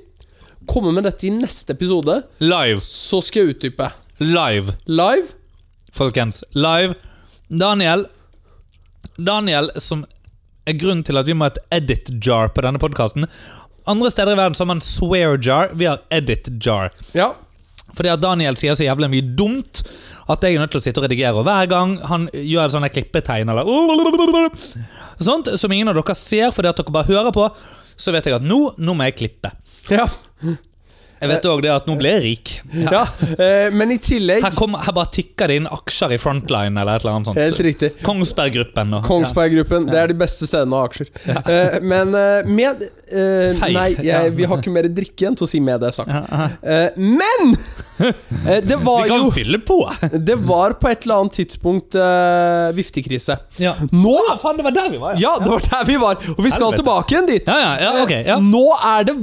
Speaker 2: komme med dette i neste episode,
Speaker 1: Live.
Speaker 2: så skal jeg utdype.
Speaker 1: Live,
Speaker 2: Live?
Speaker 1: folkens. Live. Daniel Daniel, som er grunnen til at vi må ha et edit jar på denne podkasten. Andre steder i verden så har man swear jar. Vi har edit jar.
Speaker 2: Ja.
Speaker 1: Fordi at Daniel sier så jævlig mye dumt at jeg er nødt til å sitte og redigere. Og hver gang han gjør sånne klippetegn eller Sånt som ingen av dere ser fordi at dere bare hører på, så vet jeg at nå, nå må jeg klippe.
Speaker 2: Ja.
Speaker 1: Jeg vet òg det at nå blir jeg rik. Ja.
Speaker 2: ja. Eh, men i tillegg
Speaker 1: Her, kom, her bare tikker det inn aksjer i Frontline eller et eller annet
Speaker 2: Helt
Speaker 1: sånt.
Speaker 2: riktig.
Speaker 1: Kongsberg-gruppen. og-
Speaker 2: Kongsberg-gruppen. Det er de beste stedene å ha aksjer. Eh, men eh, med eh,
Speaker 1: Feil.
Speaker 2: Nei,
Speaker 1: Ja.
Speaker 2: jeg, vi har ikke mer drikke igjen til å si med det sagt.
Speaker 1: Ja. Ja.
Speaker 2: Eh, men! Eh, det
Speaker 1: Vi
Speaker 2: var
Speaker 1: kan
Speaker 2: jo
Speaker 1: fylle på!
Speaker 2: Det var på et eller annet tidspunkt eh, viftekrise.
Speaker 1: Ja.
Speaker 2: Nå
Speaker 1: Å, faen, det var der vi var,
Speaker 2: Ja, det var der vi var! Og vi skal
Speaker 1: Helvete.
Speaker 2: tilbake igjen dit.
Speaker 1: Ja, ja, ja, ok, ja.
Speaker 2: Nå er det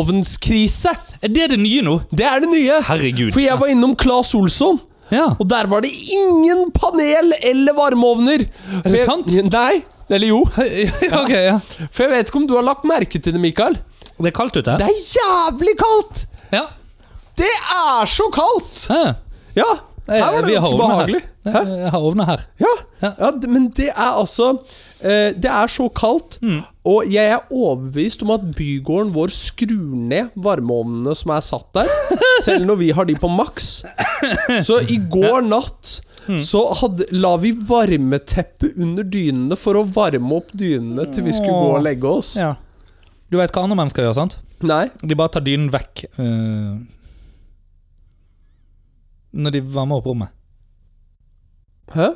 Speaker 2: varmeovnskrise!
Speaker 1: Er det det nye nå?
Speaker 2: Det er det nye.
Speaker 1: Herregud.
Speaker 2: For jeg var innom Claes Olsson.
Speaker 1: Ja.
Speaker 2: Og der var det ingen panel eller varmeovner! Er
Speaker 1: det sant?
Speaker 2: Nei. Eller jo.
Speaker 1: ok, ja.
Speaker 2: For jeg vet ikke om du har lagt merke til det, Mikael.
Speaker 1: Det er kaldt ute.
Speaker 2: Det er jævlig kaldt!
Speaker 1: Ja.
Speaker 2: Det er så kaldt!
Speaker 1: Ja. Eh,
Speaker 2: Ja, her var
Speaker 1: Vi
Speaker 2: det
Speaker 1: har
Speaker 2: ganske
Speaker 1: ovner her.
Speaker 2: behagelig. Hæ?
Speaker 1: Ja, Jeg har ovner her.
Speaker 2: Ja,
Speaker 1: Ja.
Speaker 2: ja. d- men det er altså eh, Det er så kaldt,
Speaker 1: Mm.
Speaker 2: og jeg er overbevist om at bygården vår skrur ned varmeovnene som er satt der, selv når vi har de på maks. Så i går natt
Speaker 1: Mm.
Speaker 2: så hadde, la vi varmeteppe under dynene for å varme opp dynene til vi skulle gå og legge oss.
Speaker 1: Ja. Du vet hva andre mennesker gjør, sant?
Speaker 2: Nei?
Speaker 1: De bare tar dynen vekk eh, Når de varmer opp rommet.
Speaker 2: Hæ?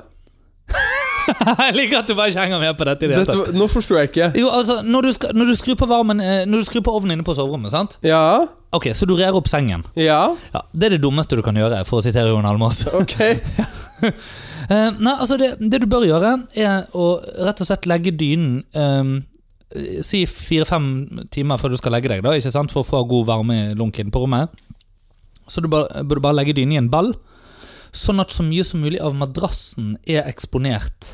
Speaker 1: Jeg liker at du bare ikke henger med på dette. i det hele
Speaker 2: Dette,
Speaker 1: tatt.
Speaker 2: var- nå forsto jeg ikke.
Speaker 1: Jo, altså, når du, skal, når, du skrur på varmen, eh, når du skrur på ovnen inne på soverommet, sant?
Speaker 2: Ja,
Speaker 1: Ok, så du rer opp sengen.
Speaker 2: ja,
Speaker 1: Ja, Det er det dummeste du kan gjøre, for å sitere Jon Almaas.
Speaker 2: ok.
Speaker 1: Eh, nei, altså det, det du bør gjøre, er å rett og slett legge dynen eh, Si fire-fem timer før du skal legge deg, da, ikke sant? for å få god varme i lunken på rommet. Så du bare, bør du bare legge dynen i en ball, sånn at så mye som mulig av madrassen er eksponert.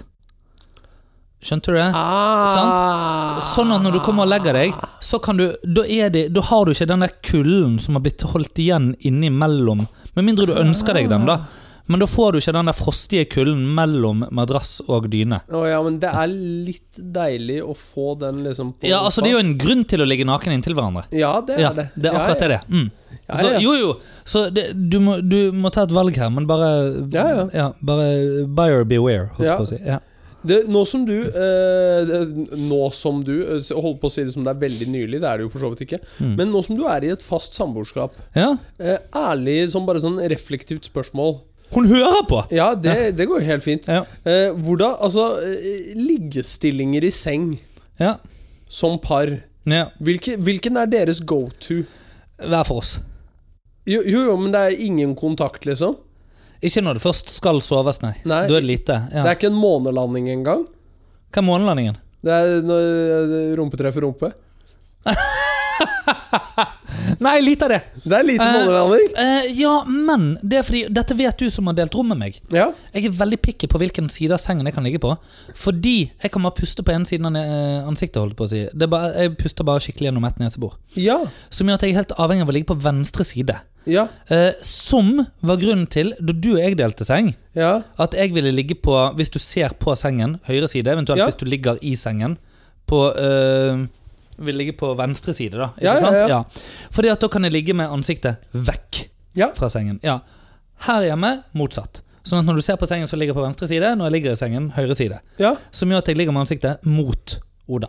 Speaker 1: Skjønte du det?
Speaker 2: Ah.
Speaker 1: Sånn at når du kommer og legger deg, så kan du Da, er det, da har du ikke den der kulden som har blitt holdt igjen innimellom. Med mindre du ønsker deg den, da. Men da får du ikke den der frostige kulden mellom madrass og dyne.
Speaker 2: Å ja, men det er litt deilig å få den liksom på
Speaker 1: Ja, altså Det er jo en grunn til å ligge naken inntil hverandre.
Speaker 2: Ja, det er
Speaker 1: Ja,
Speaker 2: det.
Speaker 1: det er akkurat
Speaker 2: ja,
Speaker 1: det. Mm.
Speaker 2: Ja,
Speaker 1: Så,
Speaker 2: ja.
Speaker 1: jo, jo. Så det, du, må, du må ta et valg her, men bare
Speaker 2: Ja, ja.
Speaker 1: Bare buyer beware, holdt jeg
Speaker 2: Ja.
Speaker 1: på å si. Ja.
Speaker 2: Det, nå som du eh, det- Nå som du eh, Holdt på å si det som det er veldig nylig, det er det jo for så vidt ikke.
Speaker 1: Mm.
Speaker 2: Men nå som du er i et fast samboerskap,
Speaker 1: ja.
Speaker 2: eh, ærlig som bare sånn reflektivt spørsmål
Speaker 1: Hun hører på!
Speaker 2: Ja, det, det går jo helt fint.
Speaker 1: Ja.
Speaker 2: Eh, hvordan Altså, eh, liggestillinger i seng
Speaker 1: ja.
Speaker 2: som par,
Speaker 1: ja.
Speaker 2: hvilke, hvilken er deres go to?
Speaker 1: Hver for oss.
Speaker 2: Jo, jo, jo, men det er ingen kontakt, liksom.
Speaker 1: Ikke når det først skal soves, nei.
Speaker 2: Nei.
Speaker 1: Da er det lite. Ja.
Speaker 2: Det er ikke en månelanding engang.
Speaker 1: Hva er månelandingen?
Speaker 2: Det er når rumpe treffer rumpe.
Speaker 1: Nei, lite av det.
Speaker 2: Det er lite
Speaker 1: Eh,
Speaker 2: månelanding.
Speaker 1: Eh, ja, men det er fordi Dette vet du som har delt rom med meg.
Speaker 2: Ja.
Speaker 1: Jeg er veldig picky på hvilken side av sengen jeg kan ligge på. Fordi jeg kan bare puste på ene siden av ne- eh, ansiktet. holdt på å si det er bare, Jeg puster bare skikkelig gjennom ett nesebor.
Speaker 2: Ja.
Speaker 1: Som gjør at jeg er helt avhengig av å ligge på venstre side.
Speaker 2: Ja.
Speaker 1: Eh, som var grunnen til, da du og jeg delte seng,
Speaker 2: Ja.
Speaker 1: at jeg ville ligge på, hvis du ser på sengen, høyre side, eventuelt
Speaker 2: Ja.
Speaker 1: hvis du ligger i sengen, på øh, Vil ligge på venstre side, da. Ikke
Speaker 2: Ja, ja,
Speaker 1: sant?
Speaker 2: ja.
Speaker 1: Fordi at da kan jeg ligge med ansiktet vekk
Speaker 2: Ja.
Speaker 1: fra sengen. Ja. Her hjemme motsatt. Sånn at når du ser på sengen, så ligger jeg på venstre side. Når jeg ligger i sengen, høyre side.
Speaker 2: ja.
Speaker 1: Som gjør at jeg ligger med ansiktet mot Oda.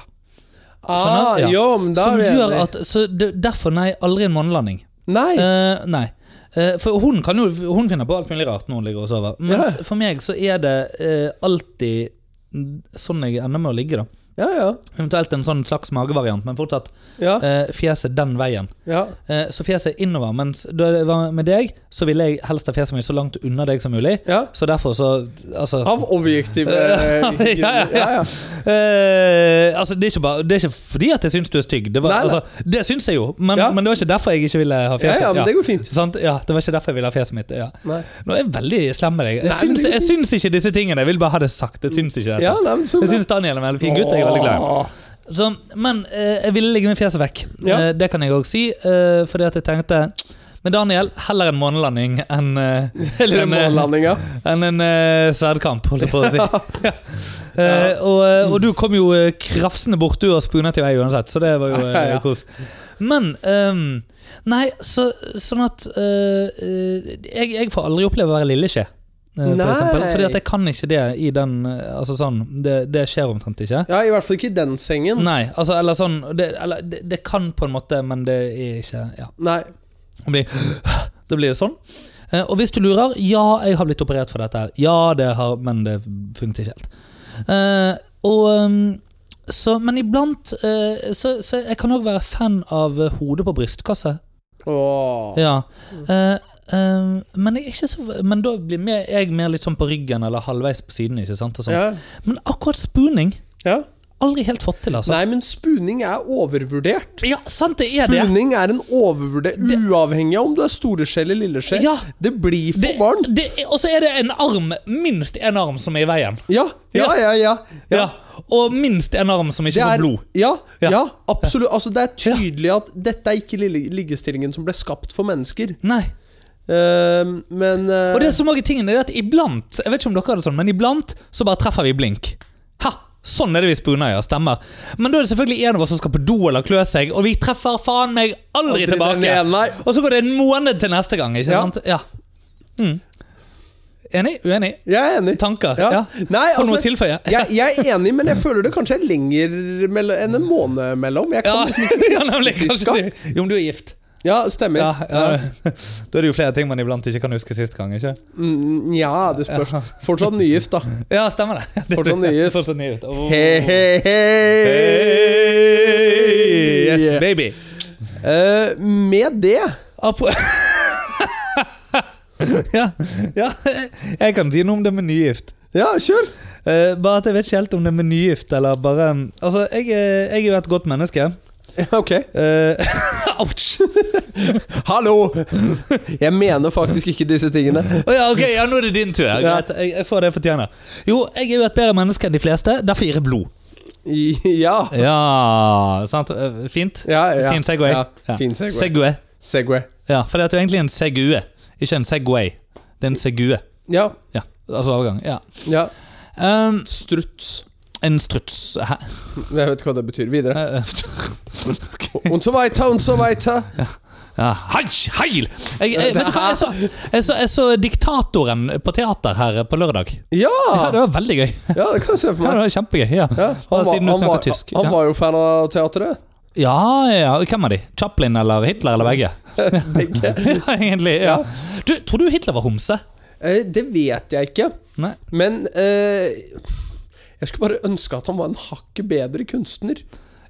Speaker 2: Ah,
Speaker 1: ja.
Speaker 2: jo, men da
Speaker 1: Som
Speaker 2: er vi
Speaker 1: gjør
Speaker 2: enige.
Speaker 1: at, så det, derfor, nei, aldri en månelanding.
Speaker 2: Nei.
Speaker 1: Eh, nei. Eh, for hun, kan jo, hun finner på alt mulig rart når hun ligger og sover. Men
Speaker 2: Ja.
Speaker 1: for meg så er det eh, alltid mm, sånn jeg ender med å ligge. da
Speaker 2: Ja, ja.
Speaker 1: Eventuelt en sånn slags magevariant, men fortsatt
Speaker 2: Ja.
Speaker 1: eh, fjeset den veien.
Speaker 2: ja.
Speaker 1: Eh, så fjeset innover. Mens da jeg var med deg, så ville jeg helst ha fjeset mitt så langt unna deg som mulig.
Speaker 2: ja.
Speaker 1: Så derfor så Altså,
Speaker 2: Av objektive eh,
Speaker 1: Ja, ja, ja.
Speaker 2: ja, ja.
Speaker 1: eh, altså det, er ikke bare, det er ikke fordi at jeg syns du er stygg. Det, var,
Speaker 2: Nei, nei.
Speaker 1: altså, det syns jeg jo, men,
Speaker 2: Ja.
Speaker 1: men det var ikke derfor jeg ikke ville
Speaker 2: ja,
Speaker 1: ha fjeset.
Speaker 2: ja, men det går fint.
Speaker 1: Sant? Ja, det var ikke derfor jeg ville ha fjeset mitt. Ja.
Speaker 2: Nei.
Speaker 1: Nå er jeg veldig slem med deg. Jeg,
Speaker 2: Nei, men
Speaker 1: syns,
Speaker 2: det går
Speaker 1: jeg
Speaker 2: fint.
Speaker 1: syns ikke disse tingene. Jeg vil bare ha det sagt. Jeg syns ikke dette.
Speaker 2: Ja, nei, men så
Speaker 1: Jeg
Speaker 2: bra.
Speaker 1: syns Daniel er en veldig fin gutt. og Jeg er veldig glad i ham. Så, men eh, jeg ville ligge med fjeset vekk.
Speaker 2: Ja.
Speaker 1: Eh, det kan jeg òg si, eh, fordi at jeg tenkte Men Daniel, heller en månelanding enn eh,
Speaker 2: Eller en
Speaker 1: enn, eh,
Speaker 2: månelandinga.
Speaker 1: enn en eh, sverdkamp, holdt jeg på å si. Eh, og, eh, og du kom jo eh, krafsende bort, du, og spuna til vei uansett, så det var jo eh,
Speaker 2: Ja.
Speaker 1: kos. Men ehm, Nei, så, sånn at eh, eh, jeg, jeg får aldri oppleve å være lilleskje. eh, For
Speaker 2: Nei.
Speaker 1: eksempel, fordi at jeg kan ikke det i den eh, Altså sånn, det, det skjer omtrent ikke.
Speaker 2: Ja, i hvert fall ikke i den sengen.
Speaker 1: Nei, altså, eller sånn det, eller, det, det kan på en måte, men det er ikke Ja.
Speaker 2: Nei.
Speaker 1: Det blir, da blir det sånn. Eh, og hvis du lurer, ja, jeg har blitt operert for dette her. Ja, det har, men det funket ikke helt. Eh, og ehm, så, Men iblant eh, så, så jeg kan òg være fan av eh, hodet på brystkasse.
Speaker 2: Åh.
Speaker 1: Ja. Eh, ehm, men, jeg er ikke så, men da blir mer- jeg mer litt sånn på ryggen eller halvveis på siden. ikke sant? Og sånn.
Speaker 2: Ja.
Speaker 1: Men akkurat spooning
Speaker 2: ja.
Speaker 1: aldri helt fått til, altså.
Speaker 2: Nei, men spuning er overvurdert.
Speaker 1: Ja, sant det er det!
Speaker 2: Spuning er en overvurdert Uavhengig av om du er store skje eller lille skje.
Speaker 1: Ja.
Speaker 2: Det blir for
Speaker 1: Det,
Speaker 2: varmt.
Speaker 1: det, og så er det en arm, minst en arm, som er i veien.
Speaker 2: Ja, ja, ja. ja,
Speaker 1: Ja. Og minst en arm som ikke får blod.
Speaker 2: Ja,
Speaker 1: Ja.
Speaker 2: ja, absolutt. Altså, det er tydelig at dette er ikke lille- liggestillingen som ble skapt for mennesker.
Speaker 1: Nei.
Speaker 2: Ehm, men eh,
Speaker 1: Og det som også er tingen, det er at iblant Jeg vet ikke om dere har det sånn, men iblant så bare treffer vi blink. Ha! Sånn er det vi spooner, ja. Stemmer. Men da er det selvfølgelig en av oss som skal på do eller klø seg, og vi treffer faen meg
Speaker 2: Aldri
Speaker 1: aldri,
Speaker 2: den
Speaker 1: tilbake.
Speaker 2: ene, nei.
Speaker 1: Og så går det en måned til neste gang, ikke
Speaker 2: Ja.
Speaker 1: sant? Ja. Mm. Enig? Uenig?
Speaker 2: Jeg er enig.
Speaker 1: Tanker?
Speaker 2: Ja.
Speaker 1: Ja.
Speaker 2: Nei,
Speaker 1: Har du noe å
Speaker 2: altså,
Speaker 1: tilføye?
Speaker 2: jeg, jeg er enig, men jeg føler det kanskje er lenger mell- enn en måned mellom. Jeg kan
Speaker 1: Ja,
Speaker 2: liksom ikke
Speaker 1: ja, nemlig, kanskje
Speaker 2: huske.
Speaker 1: du- Jo, men du er gift.
Speaker 2: Ja, stemmer.
Speaker 1: Ja,
Speaker 2: Ja,
Speaker 1: ja. Da er det jo flere ting man iblant ikke kan huske sist gang. ikke?
Speaker 2: Mm, ja det spørs. Fortsatt nygift, da.
Speaker 1: Ja, stemmer det. det.
Speaker 2: Fortsatt nygift.
Speaker 1: Fortsatt Oh, nygift. Åh.
Speaker 2: Hei, hei, hei!
Speaker 1: Yes, baby.
Speaker 2: Eh, med det
Speaker 1: Apro- ja, ja, jeg kan si noe om det med nygift.
Speaker 2: Ja, kjør!
Speaker 1: Eh, bare at jeg vet ikke helt om det er med nygift eller bare Altså, jeg, er- jeg er jo et godt menneske.
Speaker 2: Ok.
Speaker 1: Eh, Ouch!
Speaker 2: Hallo! Jeg mener faktisk ikke disse tingene.
Speaker 1: Å ja, ok, ja, nå er det din tur. Ja. Greit, jeg, jeg får det jeg fortjener. Jo, jeg er jo et bedre menneske enn de fleste, derfor gir jeg blod.
Speaker 2: Ja.
Speaker 1: Ja, sant? Eh, Fint?
Speaker 2: ja, ja.
Speaker 1: Fin segway.
Speaker 2: Ja,
Speaker 1: Ja.
Speaker 2: fin segway.
Speaker 1: Segway.
Speaker 2: segway.
Speaker 1: Ja, for det er jo egentlig en segue, ikke en segway. Det er en segue.
Speaker 2: Ja.
Speaker 1: Ja, altså overgang. Ja.
Speaker 2: ja.
Speaker 1: Ehm,
Speaker 2: Struts.
Speaker 1: en struts Hæ?
Speaker 2: Jeg vet ikke hva det betyr. Videre.
Speaker 1: Eh,
Speaker 2: Und so weiter, und so weiter.
Speaker 1: ja. Hei, heil! Jeg, jeg, vet du hva, jeg så, jeg, så, jeg så Diktatoren på teater her på lørdag.
Speaker 2: Ja!
Speaker 1: Ja, det var veldig gøy. Ja,
Speaker 2: Ja, det kan jeg se for
Speaker 1: det
Speaker 2: meg.
Speaker 1: var Kjempegøy. Ja,
Speaker 2: Ja,
Speaker 1: Og
Speaker 2: var,
Speaker 1: siden du
Speaker 2: han,
Speaker 1: snakker
Speaker 2: var,
Speaker 1: tysk.
Speaker 2: han
Speaker 1: ja.
Speaker 2: var jo fan av teatret.
Speaker 1: ja, ja. Hvem er de? Chaplin eller Hitler eller begge?
Speaker 2: Begge.
Speaker 1: ja, egentlig. Ja. Du, tror du Hitler var homse?
Speaker 2: Eh, Det vet jeg ikke,
Speaker 1: Nei.
Speaker 2: men eh, jeg skulle bare ønske at han var en hakket bedre kunstner.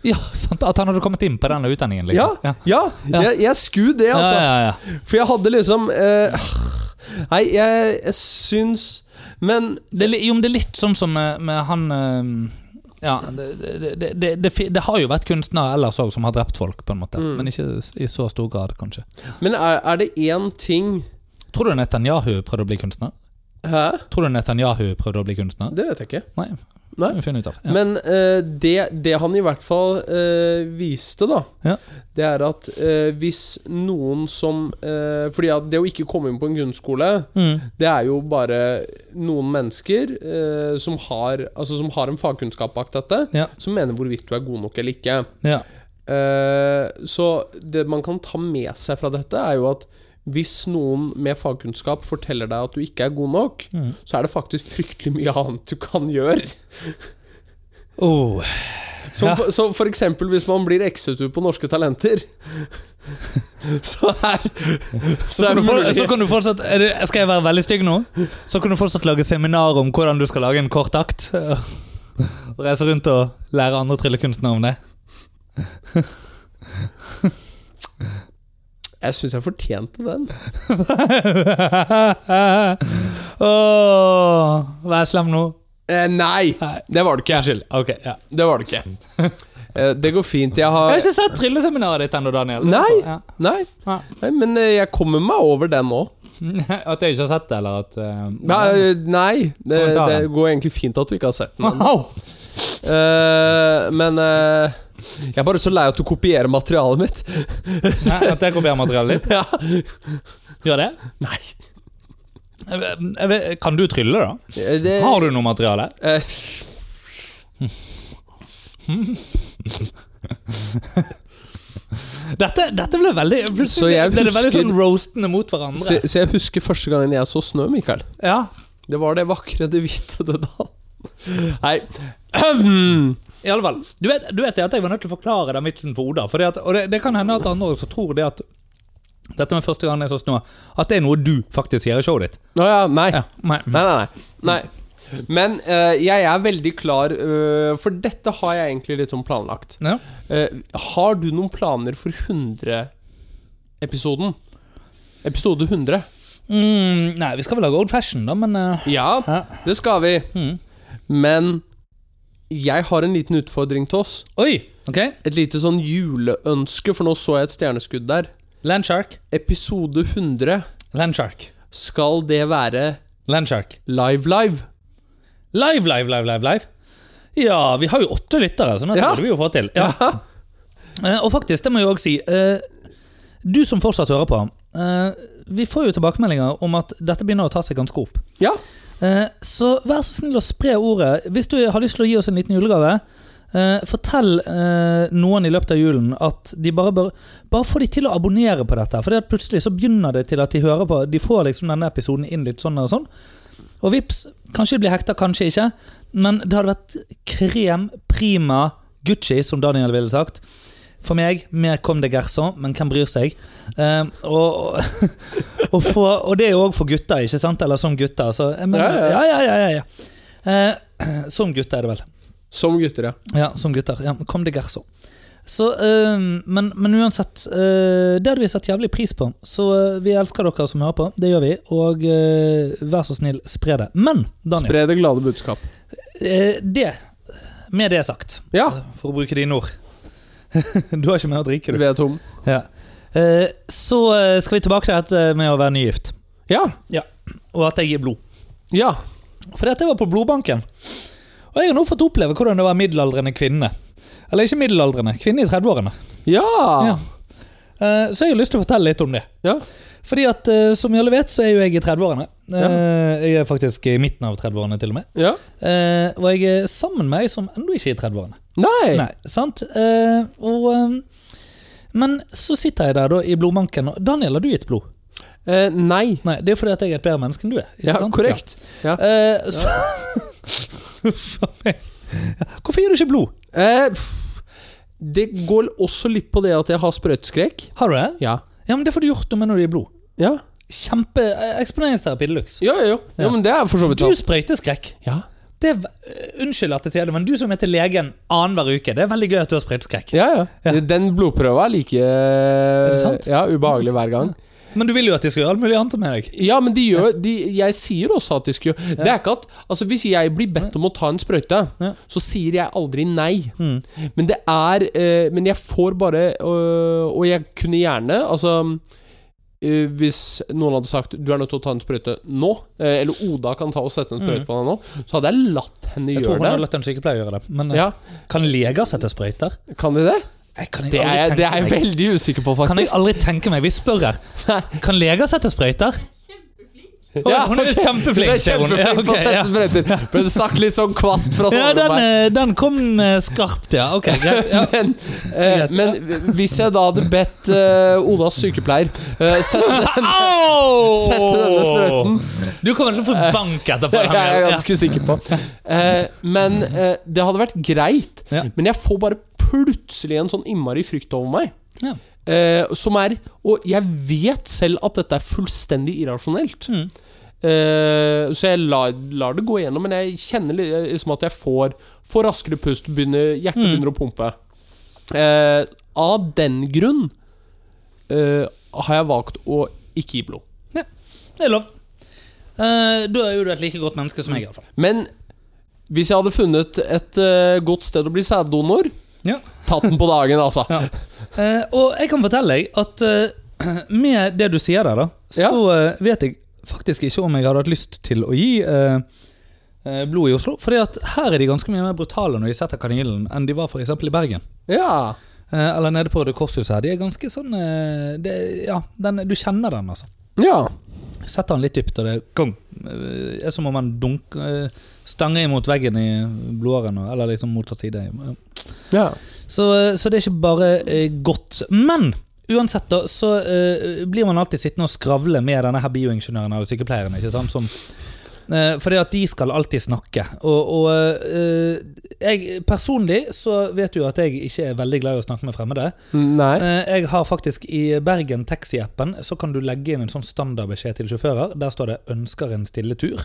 Speaker 1: Ja, sant, At han hadde kommet inn på den utdanningen,
Speaker 2: Ja,
Speaker 1: liksom.
Speaker 2: ja,
Speaker 1: Ja.
Speaker 2: Jeg, jeg skulle det,
Speaker 1: Ja,
Speaker 2: altså.
Speaker 1: ja, ja.
Speaker 2: For jeg hadde liksom eh, Nei, jeg, jeg syns Men
Speaker 1: Det, er li- jo, men det er litt sånn som med, med han eh, Ja, det, det, det, det, det, fi- det har jo vært kunstnere ellers òg som har drept folk, på en måte.
Speaker 2: Mm.
Speaker 1: Men ikke s- i så stor grad, kanskje.
Speaker 2: Men er, er det én ting
Speaker 1: Tror du Netanyahu prøvde å bli kunstner?
Speaker 2: Hæ?
Speaker 1: Tror du Netanyahu prøvde å bli kunstner?
Speaker 2: Det vet jeg ikke.
Speaker 1: Nei,
Speaker 2: Nei.
Speaker 1: vi finner ut av. Ja.
Speaker 2: Men eh, det, det han i hvert fall eh, viste, da,
Speaker 1: Ja.
Speaker 2: det er at eh, hvis noen som eh, Fordi at det å ikke komme inn på en grunnskole,
Speaker 1: Mm.
Speaker 2: det er jo bare noen mennesker eh, som, har, altså, som har en fagkunnskap bak dette,
Speaker 1: Ja.
Speaker 2: som mener hvorvidt du er god nok eller ikke.
Speaker 1: Ja.
Speaker 2: Eh, så det man kan ta med seg fra dette, er jo at hvis noen med fagkunnskap forteller deg at du ikke er god nok,
Speaker 1: Mm.
Speaker 2: så er det faktisk fryktelig mye annet du kan gjøre.
Speaker 1: Oh.
Speaker 2: Som
Speaker 1: Ja.
Speaker 2: for, så for eksempel hvis man blir eksutur på Norske Talenter, så er
Speaker 1: Så,
Speaker 2: Så
Speaker 1: kan
Speaker 2: er
Speaker 1: du
Speaker 2: det
Speaker 1: for,
Speaker 2: mulig.
Speaker 1: så kan du fortsatt er det, Skal jeg være veldig stygg nå? Så kan du fortsatt lage seminar om hvordan du skal lage en kort akt. Og reise rundt og lære andre tryllekunstnere om det.
Speaker 2: Jeg syns jeg fortjente den.
Speaker 1: Åh, vær slem nå.
Speaker 2: Eh, nei!
Speaker 1: Nei.
Speaker 2: Det var det ikke. Unnskyld.
Speaker 1: Ok, ja.
Speaker 2: Det var det ikke. Eh, det går fint. Jeg
Speaker 1: Jeg
Speaker 2: har
Speaker 1: har ikke sett trylleseminaret ditt ennå, Daniel.
Speaker 2: Nei.
Speaker 1: Ja.
Speaker 2: Nei,
Speaker 1: Nei.
Speaker 2: nei men eh, jeg kommer meg over den nå.
Speaker 1: At jeg ikke har sett det, eller at eh,
Speaker 2: Nei, nei det,
Speaker 1: Kommentaren.
Speaker 2: det går egentlig fint at du ikke har sett den.
Speaker 1: Wow.
Speaker 2: Eh, men eh, jeg er bare så lei av at du kopierer materialet mitt.
Speaker 1: Nei, at jeg kopierer materialet ditt?
Speaker 2: ja.
Speaker 1: Gjør det?
Speaker 2: Nei.
Speaker 1: Jeg vet- jeg vet- Kan du trylle, da?
Speaker 2: Eh, Det,
Speaker 1: Har du noe materiale?
Speaker 2: Eh,
Speaker 1: Dette, dette ble veldig
Speaker 2: Så jeg
Speaker 1: Plutselig ble det veldig
Speaker 2: husker-
Speaker 1: sånn roastende mot hverandre.
Speaker 2: så, så jeg husker første gangen jeg så snø, Mikael.
Speaker 1: Ja.
Speaker 2: Det var det vakre, det hvite, det da. Nei. Ahem.
Speaker 1: I alle fall, du vet, du vet det at jeg var nødt til å forklare den vitsen for Oda. fordi at, og det, det kan hende at andre også tror det at dette med første gang jeg så snø, at det er noe du faktisk gjør i showet ditt.
Speaker 2: Å ja, nei.
Speaker 1: Ja, nei.
Speaker 2: Nei, nei, nei. nei. Men eh, jeg er veldig klar, eh, for dette har jeg egentlig litt sånn planlagt.
Speaker 1: Ja.
Speaker 2: Eh, har du noen planer for 100-episoden? Episode 100?
Speaker 1: Mm, nei, vi skal vel lage old fashion, da, men eh,
Speaker 2: Ja,
Speaker 1: Ja.
Speaker 2: det skal vi.
Speaker 1: Mm.
Speaker 2: Men jeg har en liten utfordring til oss.
Speaker 1: Oi! ok
Speaker 2: Et lite sånn juleønske, for nå så jeg et stjerneskudd der.
Speaker 1: Landshark.
Speaker 2: Episode 100,
Speaker 1: Landshark.
Speaker 2: skal det være
Speaker 1: Landshark.
Speaker 2: live-live?
Speaker 1: Live, live, live, live. live Ja, vi har jo åtte lyttere, så dette
Speaker 2: Ja.
Speaker 1: burde vi jo få til. Ja. Eh, og faktisk, det må jeg òg si. eh, du som fortsatt hører på. eh, vi får jo tilbakemeldinger om at dette begynner å ta seg ganske opp.
Speaker 2: Ja.
Speaker 1: Eh, Så vær så snill å spre ordet. Hvis du har lyst til å gi oss en liten julegave, eh, fortell eh, noen i løpet av julen at de bare bør Bare få de til å abonnere på dette. For det at plutselig så begynner det til at de hører på De får liksom denne episoden inn litt sånn og sånn. Og vips, kanskje de blir hekta, kanskje ikke. Men det hadde vært krem prima Gucci, som Daniel ville sagt. For meg, mer kom det gerso, men hvem bryr seg? Eh, og, og, og, for, og det er jo òg for gutter, ikke sant? Eller som gutter. Så jeg mener,
Speaker 2: Ja, ja,
Speaker 1: ja, ja, ja. ja, ja. Eh, som gutter er det vel.
Speaker 2: Som gutter, ja.
Speaker 1: Ja, som gutter. Ja, kom det gerso. Så, eh, men, men uansett, eh, det hadde vi satt jævlig pris på. Så eh, vi elsker dere som hører på. Det gjør vi. Og eh, vær så snill, spre det. Men, Daniel,
Speaker 2: Spre det glade budskap.
Speaker 1: eh, det Med det sagt,
Speaker 2: Ja,
Speaker 1: for å bruke dine ord Du har ikke mer å drikke, du.
Speaker 2: vi er tom.
Speaker 1: Ja. Eh, Så eh, skal vi tilbake til dette med å være nygift,
Speaker 2: Ja.
Speaker 1: og at jeg gir blod.
Speaker 2: Ja.
Speaker 1: For dette var på blodbanken. Og jeg har nå fått oppleve hvordan det var middelaldrende kvinne. Eller ikke middelaldrende, kvinne i 30-årene.
Speaker 2: Ja.
Speaker 1: Ja. Eh, Så jeg har lyst til å fortelle litt om det.
Speaker 2: Ja.
Speaker 1: Fordi at, eh, som vi alle vet, så er jo jeg i 30-årene. Eh,
Speaker 2: Ja.
Speaker 1: Jeg er faktisk i midten av 30-årene, til og med.
Speaker 2: ja.
Speaker 1: Eh, Og jeg er sammen med ei som ennå ikke er i 30-årene.
Speaker 2: Nei.
Speaker 1: Nei, sant? Eh, og, eh, men så sitter jeg der da i blodbanken. og- Daniel, har du gitt blod?
Speaker 2: Eh, nei.
Speaker 1: Nei, det er fordi at jeg er et bedre menneske enn du er. ikke
Speaker 2: Ja,
Speaker 1: sant?
Speaker 2: korrekt.
Speaker 1: Ja.
Speaker 2: Ja.
Speaker 1: Eh, så, Faen meg. Hvorfor gir du ikke blod?
Speaker 2: Eh, pff, det går også litt på det at jeg har sprøyteskrekk.
Speaker 1: Har du det?
Speaker 2: Ja.
Speaker 1: Ja, men Det får du gjort noe med når du gir blod.
Speaker 2: Ja.
Speaker 1: Kjempe eh, Eksponeringsterapi de luxe.
Speaker 2: Ja, ja, ja.
Speaker 1: Ja.
Speaker 2: ja, men det er for så vidt
Speaker 1: Du
Speaker 2: sant.
Speaker 1: sprøyteskrekk.
Speaker 2: Ja.
Speaker 1: Det er, ve- eh, unnskyld at jeg sier det, men du som er til legen annenhver uke, det er veldig gøy at du har sprøyteskrekk.
Speaker 2: Ja, ja. Den blodprøva er like er
Speaker 1: det sant?
Speaker 2: Ja, ubehagelig hver gang.
Speaker 1: Men du vil jo at de skal gjøre alt mulig annet med deg.
Speaker 2: Ja, men de gjør de, Jeg sier også at de skal gjøre Det er ikke at Altså, hvis jeg blir bedt om å ta en sprøyte,
Speaker 1: Ja. Mm.
Speaker 2: så sier jeg aldri nei. Men det er eh, Men jeg får bare øh, Og jeg kunne gjerne Altså eh, hvis noen hadde sagt Du er nødt til å ta en sprøyte nå, eh, eller Oda kan ta og sette en sprøyte på deg nå, så hadde jeg latt henne
Speaker 1: Mm. Jeg tror hun
Speaker 2: gjøre
Speaker 1: har
Speaker 2: det.
Speaker 1: latt en sykepleier gjøre det. Men eh,
Speaker 2: Ja,
Speaker 1: kan leger sette sprøyter?
Speaker 2: Kan de det?
Speaker 1: Jeg kan
Speaker 2: Det er, det
Speaker 1: aldri tenke
Speaker 2: er jeg
Speaker 1: meg.
Speaker 2: veldig usikker på,
Speaker 1: Kan jeg
Speaker 2: faktisk.
Speaker 1: aldri tenke meg, vi spør her Kan leger sette sprøyter? Å,
Speaker 2: Ja,
Speaker 1: hun er
Speaker 2: ok.
Speaker 1: kjempeflink,
Speaker 2: Hun er
Speaker 1: sier hun. Ja,
Speaker 2: kjempeflink på å
Speaker 1: ok, ja.
Speaker 2: sette sprøyter. Ble det sagt litt sånn kvast fra
Speaker 1: Ja, den,
Speaker 2: Snorberg?
Speaker 1: eh, den kom eh, skarpt, ja. Ok, greit. Ja.
Speaker 2: Men, eh,
Speaker 1: Greit,
Speaker 2: men hvis jeg da hadde bedt eh, Odas sykepleier eh, sette den
Speaker 1: Au!
Speaker 2: Sette denne sprøyten.
Speaker 1: Du kommer til å få bank etterpå.
Speaker 2: Det er jeg
Speaker 1: Daniel.
Speaker 2: ganske sikker på. Eh, men eh, det hadde vært greit.
Speaker 1: Ja.
Speaker 2: Men jeg får bare plutselig en sånn innmari frykt over meg.
Speaker 1: Ja.
Speaker 2: Eh, som er Og jeg vet selv at dette er fullstendig irrasjonelt.
Speaker 1: Mm.
Speaker 2: Eh, så jeg lar, lar det gå igjennom, men jeg kjenner li- liksom at jeg får, får raskere pust. Begynner, hjertet
Speaker 1: Mm.
Speaker 2: begynner å pumpe. Eh, av den grunn eh, har jeg valgt å ikke gi blod.
Speaker 1: Ja. Det er lov. Eh, da er jo du et like godt menneske som jeg, iallfall.
Speaker 2: Men hvis jeg hadde funnet et eh, godt sted å bli sæddonor,
Speaker 1: Ja.
Speaker 2: tatt den på dagen, altså.
Speaker 1: Ja. Eh, og jeg kan fortelle deg at eh, med det du sier der, da, så
Speaker 2: Ja.
Speaker 1: eh, vet jeg faktisk ikke om jeg hadde hatt lyst til å gi eh, eh, blod i Oslo. Fordi at her er de ganske mye mer brutale når de setter kanylen, enn de var for eksempel i Bergen.
Speaker 2: Ja.
Speaker 1: Eh, eller nede på Det Korshuset her. De er ganske sånn eh, det, Ja, den, du kjenner den, altså.
Speaker 2: Ja.
Speaker 1: Setter den litt dypt, og det gong. Eh, er som om man dunker eh, Stanger imot veggen i blodåren, og- eller liksom motsatt side. Eh,
Speaker 2: ja.
Speaker 1: Så, så det er ikke bare eh, godt. Men uansett, da, så eh, blir man alltid sittende og skravle med denne her bioingeniøren eller sykepleieren. ikke sant? Som, eh, fordi at de skal alltid snakke. Og, og eh, jeg personlig så vet du jo at jeg ikke er veldig glad i å snakke med fremmede.
Speaker 2: Nei.
Speaker 1: Eh, Jeg har faktisk I Bergen taxi-appen Så kan du legge inn en sånn standardbeskjed til sjåfører. Der står det 'ønsker en stille tur'.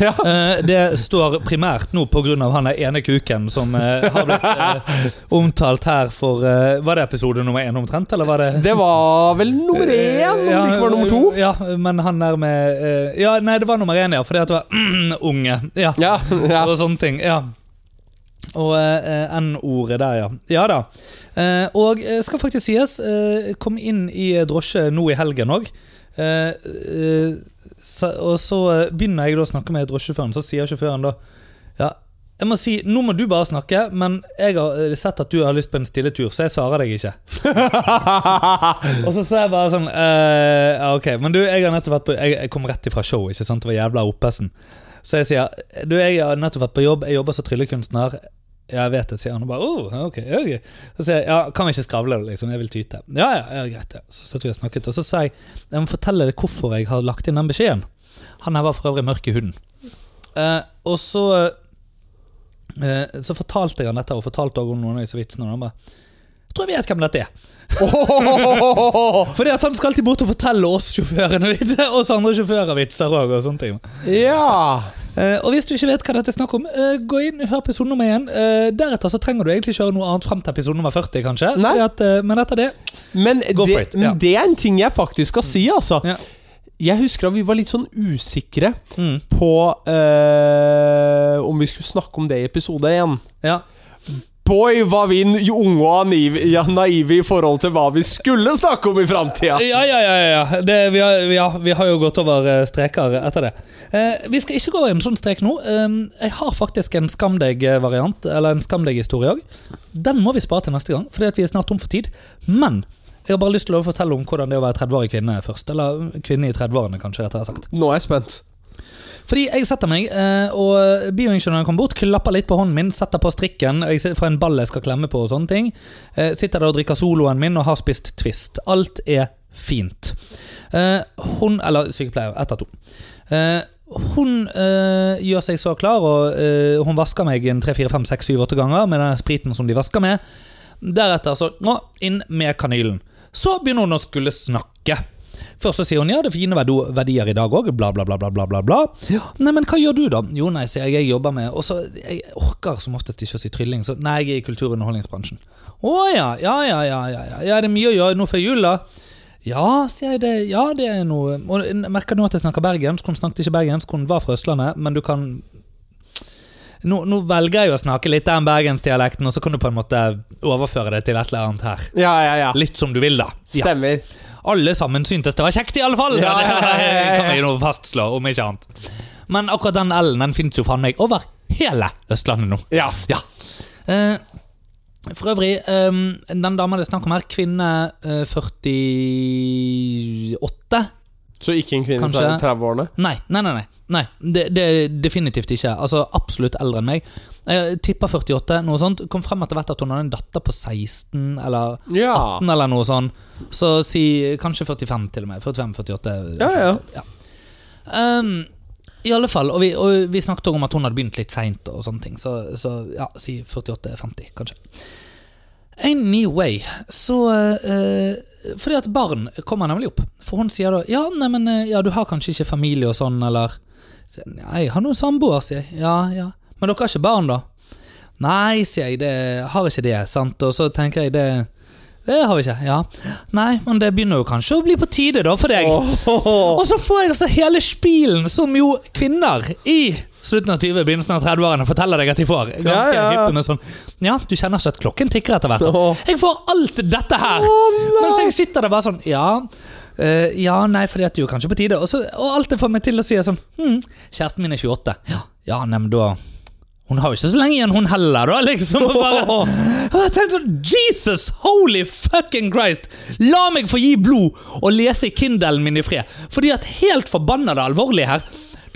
Speaker 2: Ja.
Speaker 1: Eh, Det står primært nå pga. han der ene kuken som eh, har blitt eh, omtalt her for eh, Var det episode nummer én omtrent, eller var det Eh,
Speaker 2: Det var vel nummer én, om det ikke var nummer to.
Speaker 1: Ja, men han der med eh, Ja, nei, det var nummer én, ja. Fordi at det var unge. Ja,
Speaker 2: Ja, ja.
Speaker 1: og sånne ting. Ja. Og eh, eh, N-ordet der, ja. Ja da. Eh, og eh, skal faktisk sies, eh, kom inn i drosje nå i helgen òg. Eh, eh, sa- og så eh, begynner jeg da å snakke med drosjesjåføren, så sier sjåføren da Ja, jeg må si, nå må du bare snakke, men jeg har eh, sett at du har lyst på en stille tur, så jeg svarer deg ikke. Og så sa jeg bare sånn eh, ja, Ok, men du, jeg har nettopp vært på Jeg, jeg kom rett ifra show, ikke sant? Det var jævla opphessen. Så jeg sier Du, jeg har nettopp vært på jobb, jeg jobber som tryllekunstner. Ja, jeg vet det, sier han. Og bare, oh, ok, ja, ok». Så sier jeg ja, kan vi ikke skravle, liksom? Jeg vil tyte. Ja, ja, ja greit. Ja. Så satt vi og snakket, og så sa jeg jeg må fortelle deg hvorfor jeg har lagt inn den beskjeden. Han her var for øvrig mørk i huden. Eh, og så eh, Så fortalte jeg han dette, og fortalte også om noen av disse vitsene. Og han bare Jeg tror jeg vet hvem dette er. Fordi at han skal alltid bort og fortelle oss sjåførene vitser, oss andre sjåfører vitser òg. Og sånne ting.
Speaker 2: ja.
Speaker 1: Eh, og hvis du ikke vet hva dette er snakk om, eh, gå inn hør episode nummer én. Eh, deretter så trenger du egentlig ikke høre noe annet frem til episode nummer 40, kanskje.
Speaker 2: Nei.
Speaker 1: Fordi At, eh, men etter det
Speaker 2: Men, det,
Speaker 1: Go for it, ja.
Speaker 2: men det er en ting jeg faktisk skal si, altså.
Speaker 1: Ja.
Speaker 2: Jeg husker at vi var litt sånn usikre
Speaker 1: mm,
Speaker 2: på eh, om vi skulle snakke om det i episode én.
Speaker 1: Ja.
Speaker 2: Boy, var vi n- unge og naive, ja, naive i forhold til hva vi skulle snakke om i framtida!
Speaker 1: Ja, ja, ja, ja, ja. Det, vi, har, vi, har, vi har jo gått over eh, streker etter det. Eh, vi skal ikke gå i en sånn strek nå. Eh, jeg har faktisk en skam deg-variant, eller en skam deg-historie òg. Den må vi spare til neste gang, fordi at vi er snart tom for tid. Men jeg har bare lyst til å fortelle om hvordan det er å være 30-årig kvinne først. Eller kvinne i 30-årene, kanskje. rettere sagt
Speaker 2: Nå er jeg spent.
Speaker 1: fordi jeg setter meg, eh, og bioingeniøren kommer bort, klapper litt på hånden min, setter på strikken og jeg ser- får en ball jeg skal klemme på og sånne ting. Eh, Sitter der og drikker soloen min og har spist Twist. Alt er fint. Eh, Hun, eller sykepleier, ett av to. Eh, Hun eh, gjør seg så klar, og eh, hun vasker meg en 3, 4, 5, 6, 7, 8 ganger med den spriten som de vasker med. Deretter så nå, inn med kanylen. Så begynner hun å skulle snakke. Først så sier hun ja, det er fine verdo- verdier i dag òg, bla, bla, bla, bla, bla, bla. bla. Nei, men hva gjør du, da? Jo, nei, sier jeg, jeg jobber med Og så, jeg orker som oftest ikke å si trylling, så nei, jeg er i kultur- og underholdningsbransjen. Å ja, ja, ja, ja, ja, ja, ja, det er mye å gjøre nå før jul, da. Ja, sier jeg det. Ja, det er noe Og jeg merker nå at jeg snakker bergensk. Hun snakket ikke bergensk, hun var fra Østlandet, men du kan nå, nå velger jeg jo å snakke litt den bergensdialekten, og så kan du på en måte overføre det til et eller annet her.
Speaker 2: Ja, ja, ja.
Speaker 1: Litt som du vil, da. Ja.
Speaker 2: Stemmer.
Speaker 1: Alle sammen syntes det var kjekt, i alle fall!
Speaker 2: Ja, ja, ja, ja, ja.
Speaker 1: Det kan jeg nå fastslå, om ikke annet. Men akkurat den L-en den fins jo faen meg over hele Østlandet nå.
Speaker 2: Ja.
Speaker 1: Ja. Eh, for øvrig, eh, den dama det er snakk om her, kvinne eh, 48
Speaker 2: Så ikke en kvinne i
Speaker 1: Kanskje-
Speaker 2: 30-årene?
Speaker 1: Nei, nei, nei, nei, nei. Det, det er definitivt ikke. Altså Absolutt eldre enn meg. Jeg tipper 48, noe sånt. Kom frem etter hvert at hun hadde en datter på 16 eller 18
Speaker 2: Ja.
Speaker 1: eller noe sånt. Så si kanskje 45 til og med. 45-48.
Speaker 2: Ja, ja.
Speaker 1: Um, I alle fall, og vi, og vi snakket også om at hun hadde begynt litt seint, og sånne ting. Så, så ja, si 48-50, kanskje. Anyway, så eh, Fordi at barn kommer nemlig opp. For hun sier da Ja, nei, men, eh, ja, du har kanskje ikke familie og sånn, eller Så jeg, Nei, jeg har noen samboer, sier jeg. Ja, ja. Men dere har ikke barn, da? Nei, sier jeg, det har ikke det, sant? Og så tenker jeg det Det har vi ikke. Ja. Nei, men det begynner jo kanskje å bli på tide, da, for deg.
Speaker 2: Åh.
Speaker 1: Og så får jeg altså hele spilen som jo kvinner i slutten av 20, begynnelsen av 30-årene forteller deg at de får. Ganske
Speaker 2: Ja, ja, ja.
Speaker 1: hyppe med sånn Ja, du kjenner ikke at klokken tikker etter hvert. da.
Speaker 2: Åh.
Speaker 1: Jeg får alt dette her! mens jeg sitter der bare sånn Ja, eh, ja nei, fordi at det er jo kanskje på tide. Og, så, og alt det får meg til å si er sånn hm, Kjæresten min er 28. Ja, Ja, nei, men da Hun har jo ikke så lenge igjen, hun heller, da, liksom. Og bare, og jeg tenkte sånn Jesus holy fucking Christ! La meg få gi blod og lese i Kindlen min i fred. Fordi at helt forbanna det alvorlige her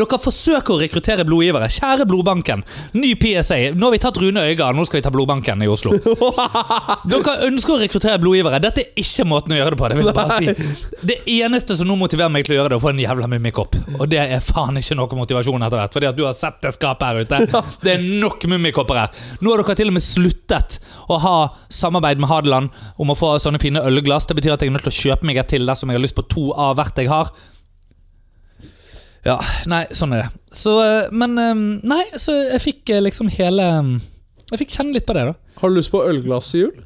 Speaker 1: dere forsøker å rekruttere blodgivere. Kjære Blodbanken. Ny PSA. Nå har vi tatt Rune Øygarden, nå skal vi ta Blodbanken i Oslo. Dere ønsker å rekruttere blodgivere. Dette er ikke måten å gjøre det på. Det vil jeg bare si Det eneste som nå motiverer meg til å gjøre det, er å få en jævla mummikopp. Og det er faen ikke noe motivasjon etter hvert. Fordi at du har sett det skapet her ute. Det er nok mummikopper her. Nå har dere til og med sluttet å ha samarbeid med Hadeland om å få sånne fine ølglass. Det betyr at jeg er nødt til å kjøpe meg et til dersom jeg har lyst på to av hvert jeg har. Ja, nei, sånn er det. Så, eh, men eh, Nei, så jeg fikk eh, liksom hele Jeg fikk kjenne litt på det, da.
Speaker 2: Har du lyst på ølglass i jul?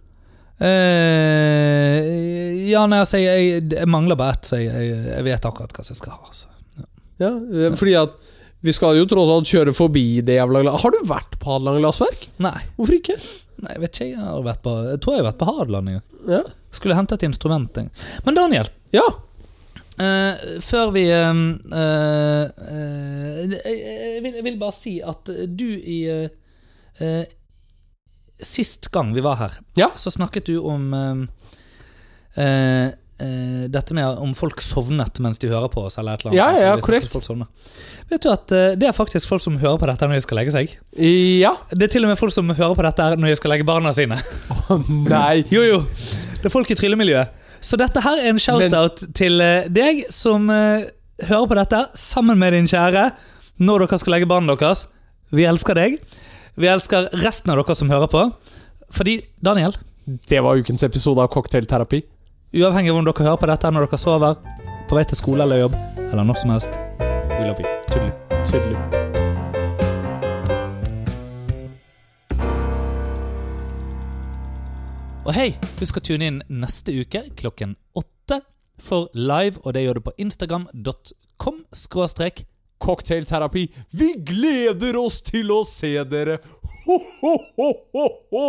Speaker 1: Eh, ja, nei, altså, jeg, jeg, jeg mangler bare ett, så jeg, jeg, jeg vet akkurat hva jeg skal ha. Altså.
Speaker 2: Ja, eh, fordi at vi skal jo tross alt kjøre forbi det jævla glass... Har du vært på Hadeland glassverk?
Speaker 1: Nei,
Speaker 2: Hvorfor ikke?
Speaker 1: nei, jeg vet ikke. Jeg, har vært på, jeg tror jeg har vært på Hadeland. jeg.
Speaker 2: Ja.
Speaker 1: Skulle hente et instrument. Jeg. Men Daniel,
Speaker 2: ja.
Speaker 1: eh, før vi eh, eh, eh, jeg, vil, jeg vil bare si at du i eh, eh, Sist gang vi var her,
Speaker 2: Ja.
Speaker 1: så snakket du om eh, eh, eh, dette med om folk sovnet mens de hører på oss, eller et eller annet.
Speaker 2: Ja, ja, ja,
Speaker 1: Vi snakket
Speaker 2: korrekt.
Speaker 1: om folk sovner. Vet du at eh, det er faktisk folk som hører på dette når de skal legge seg?
Speaker 2: Ja.
Speaker 1: Det er til og med folk som hører på dette her når de skal legge barna sine.
Speaker 2: Nei.
Speaker 1: Jo, jo. Det er folk i tryllemiljøet. Så dette her er en shout-out til eh, deg som eh, hører på dette sammen med din kjære når dere skal legge barna deres. Vi elsker deg. Vi elsker resten av dere som hører på. Fordi, Daniel,
Speaker 2: Det var ukens episode av Cocktailterapi.
Speaker 1: uavhengig av om dere hører på dette når dere sover, på vei til skole eller jobb, eller når som helst, we love you. Tydelig.
Speaker 2: Tydelig.
Speaker 1: Og hei, husk å tune inn neste uke klokken åtte for live, og det gjør du på instagram.com skråstrek
Speaker 2: Cocktailterapi. Vi gleder oss til å se dere! Ho, ho, ho, ho, ho!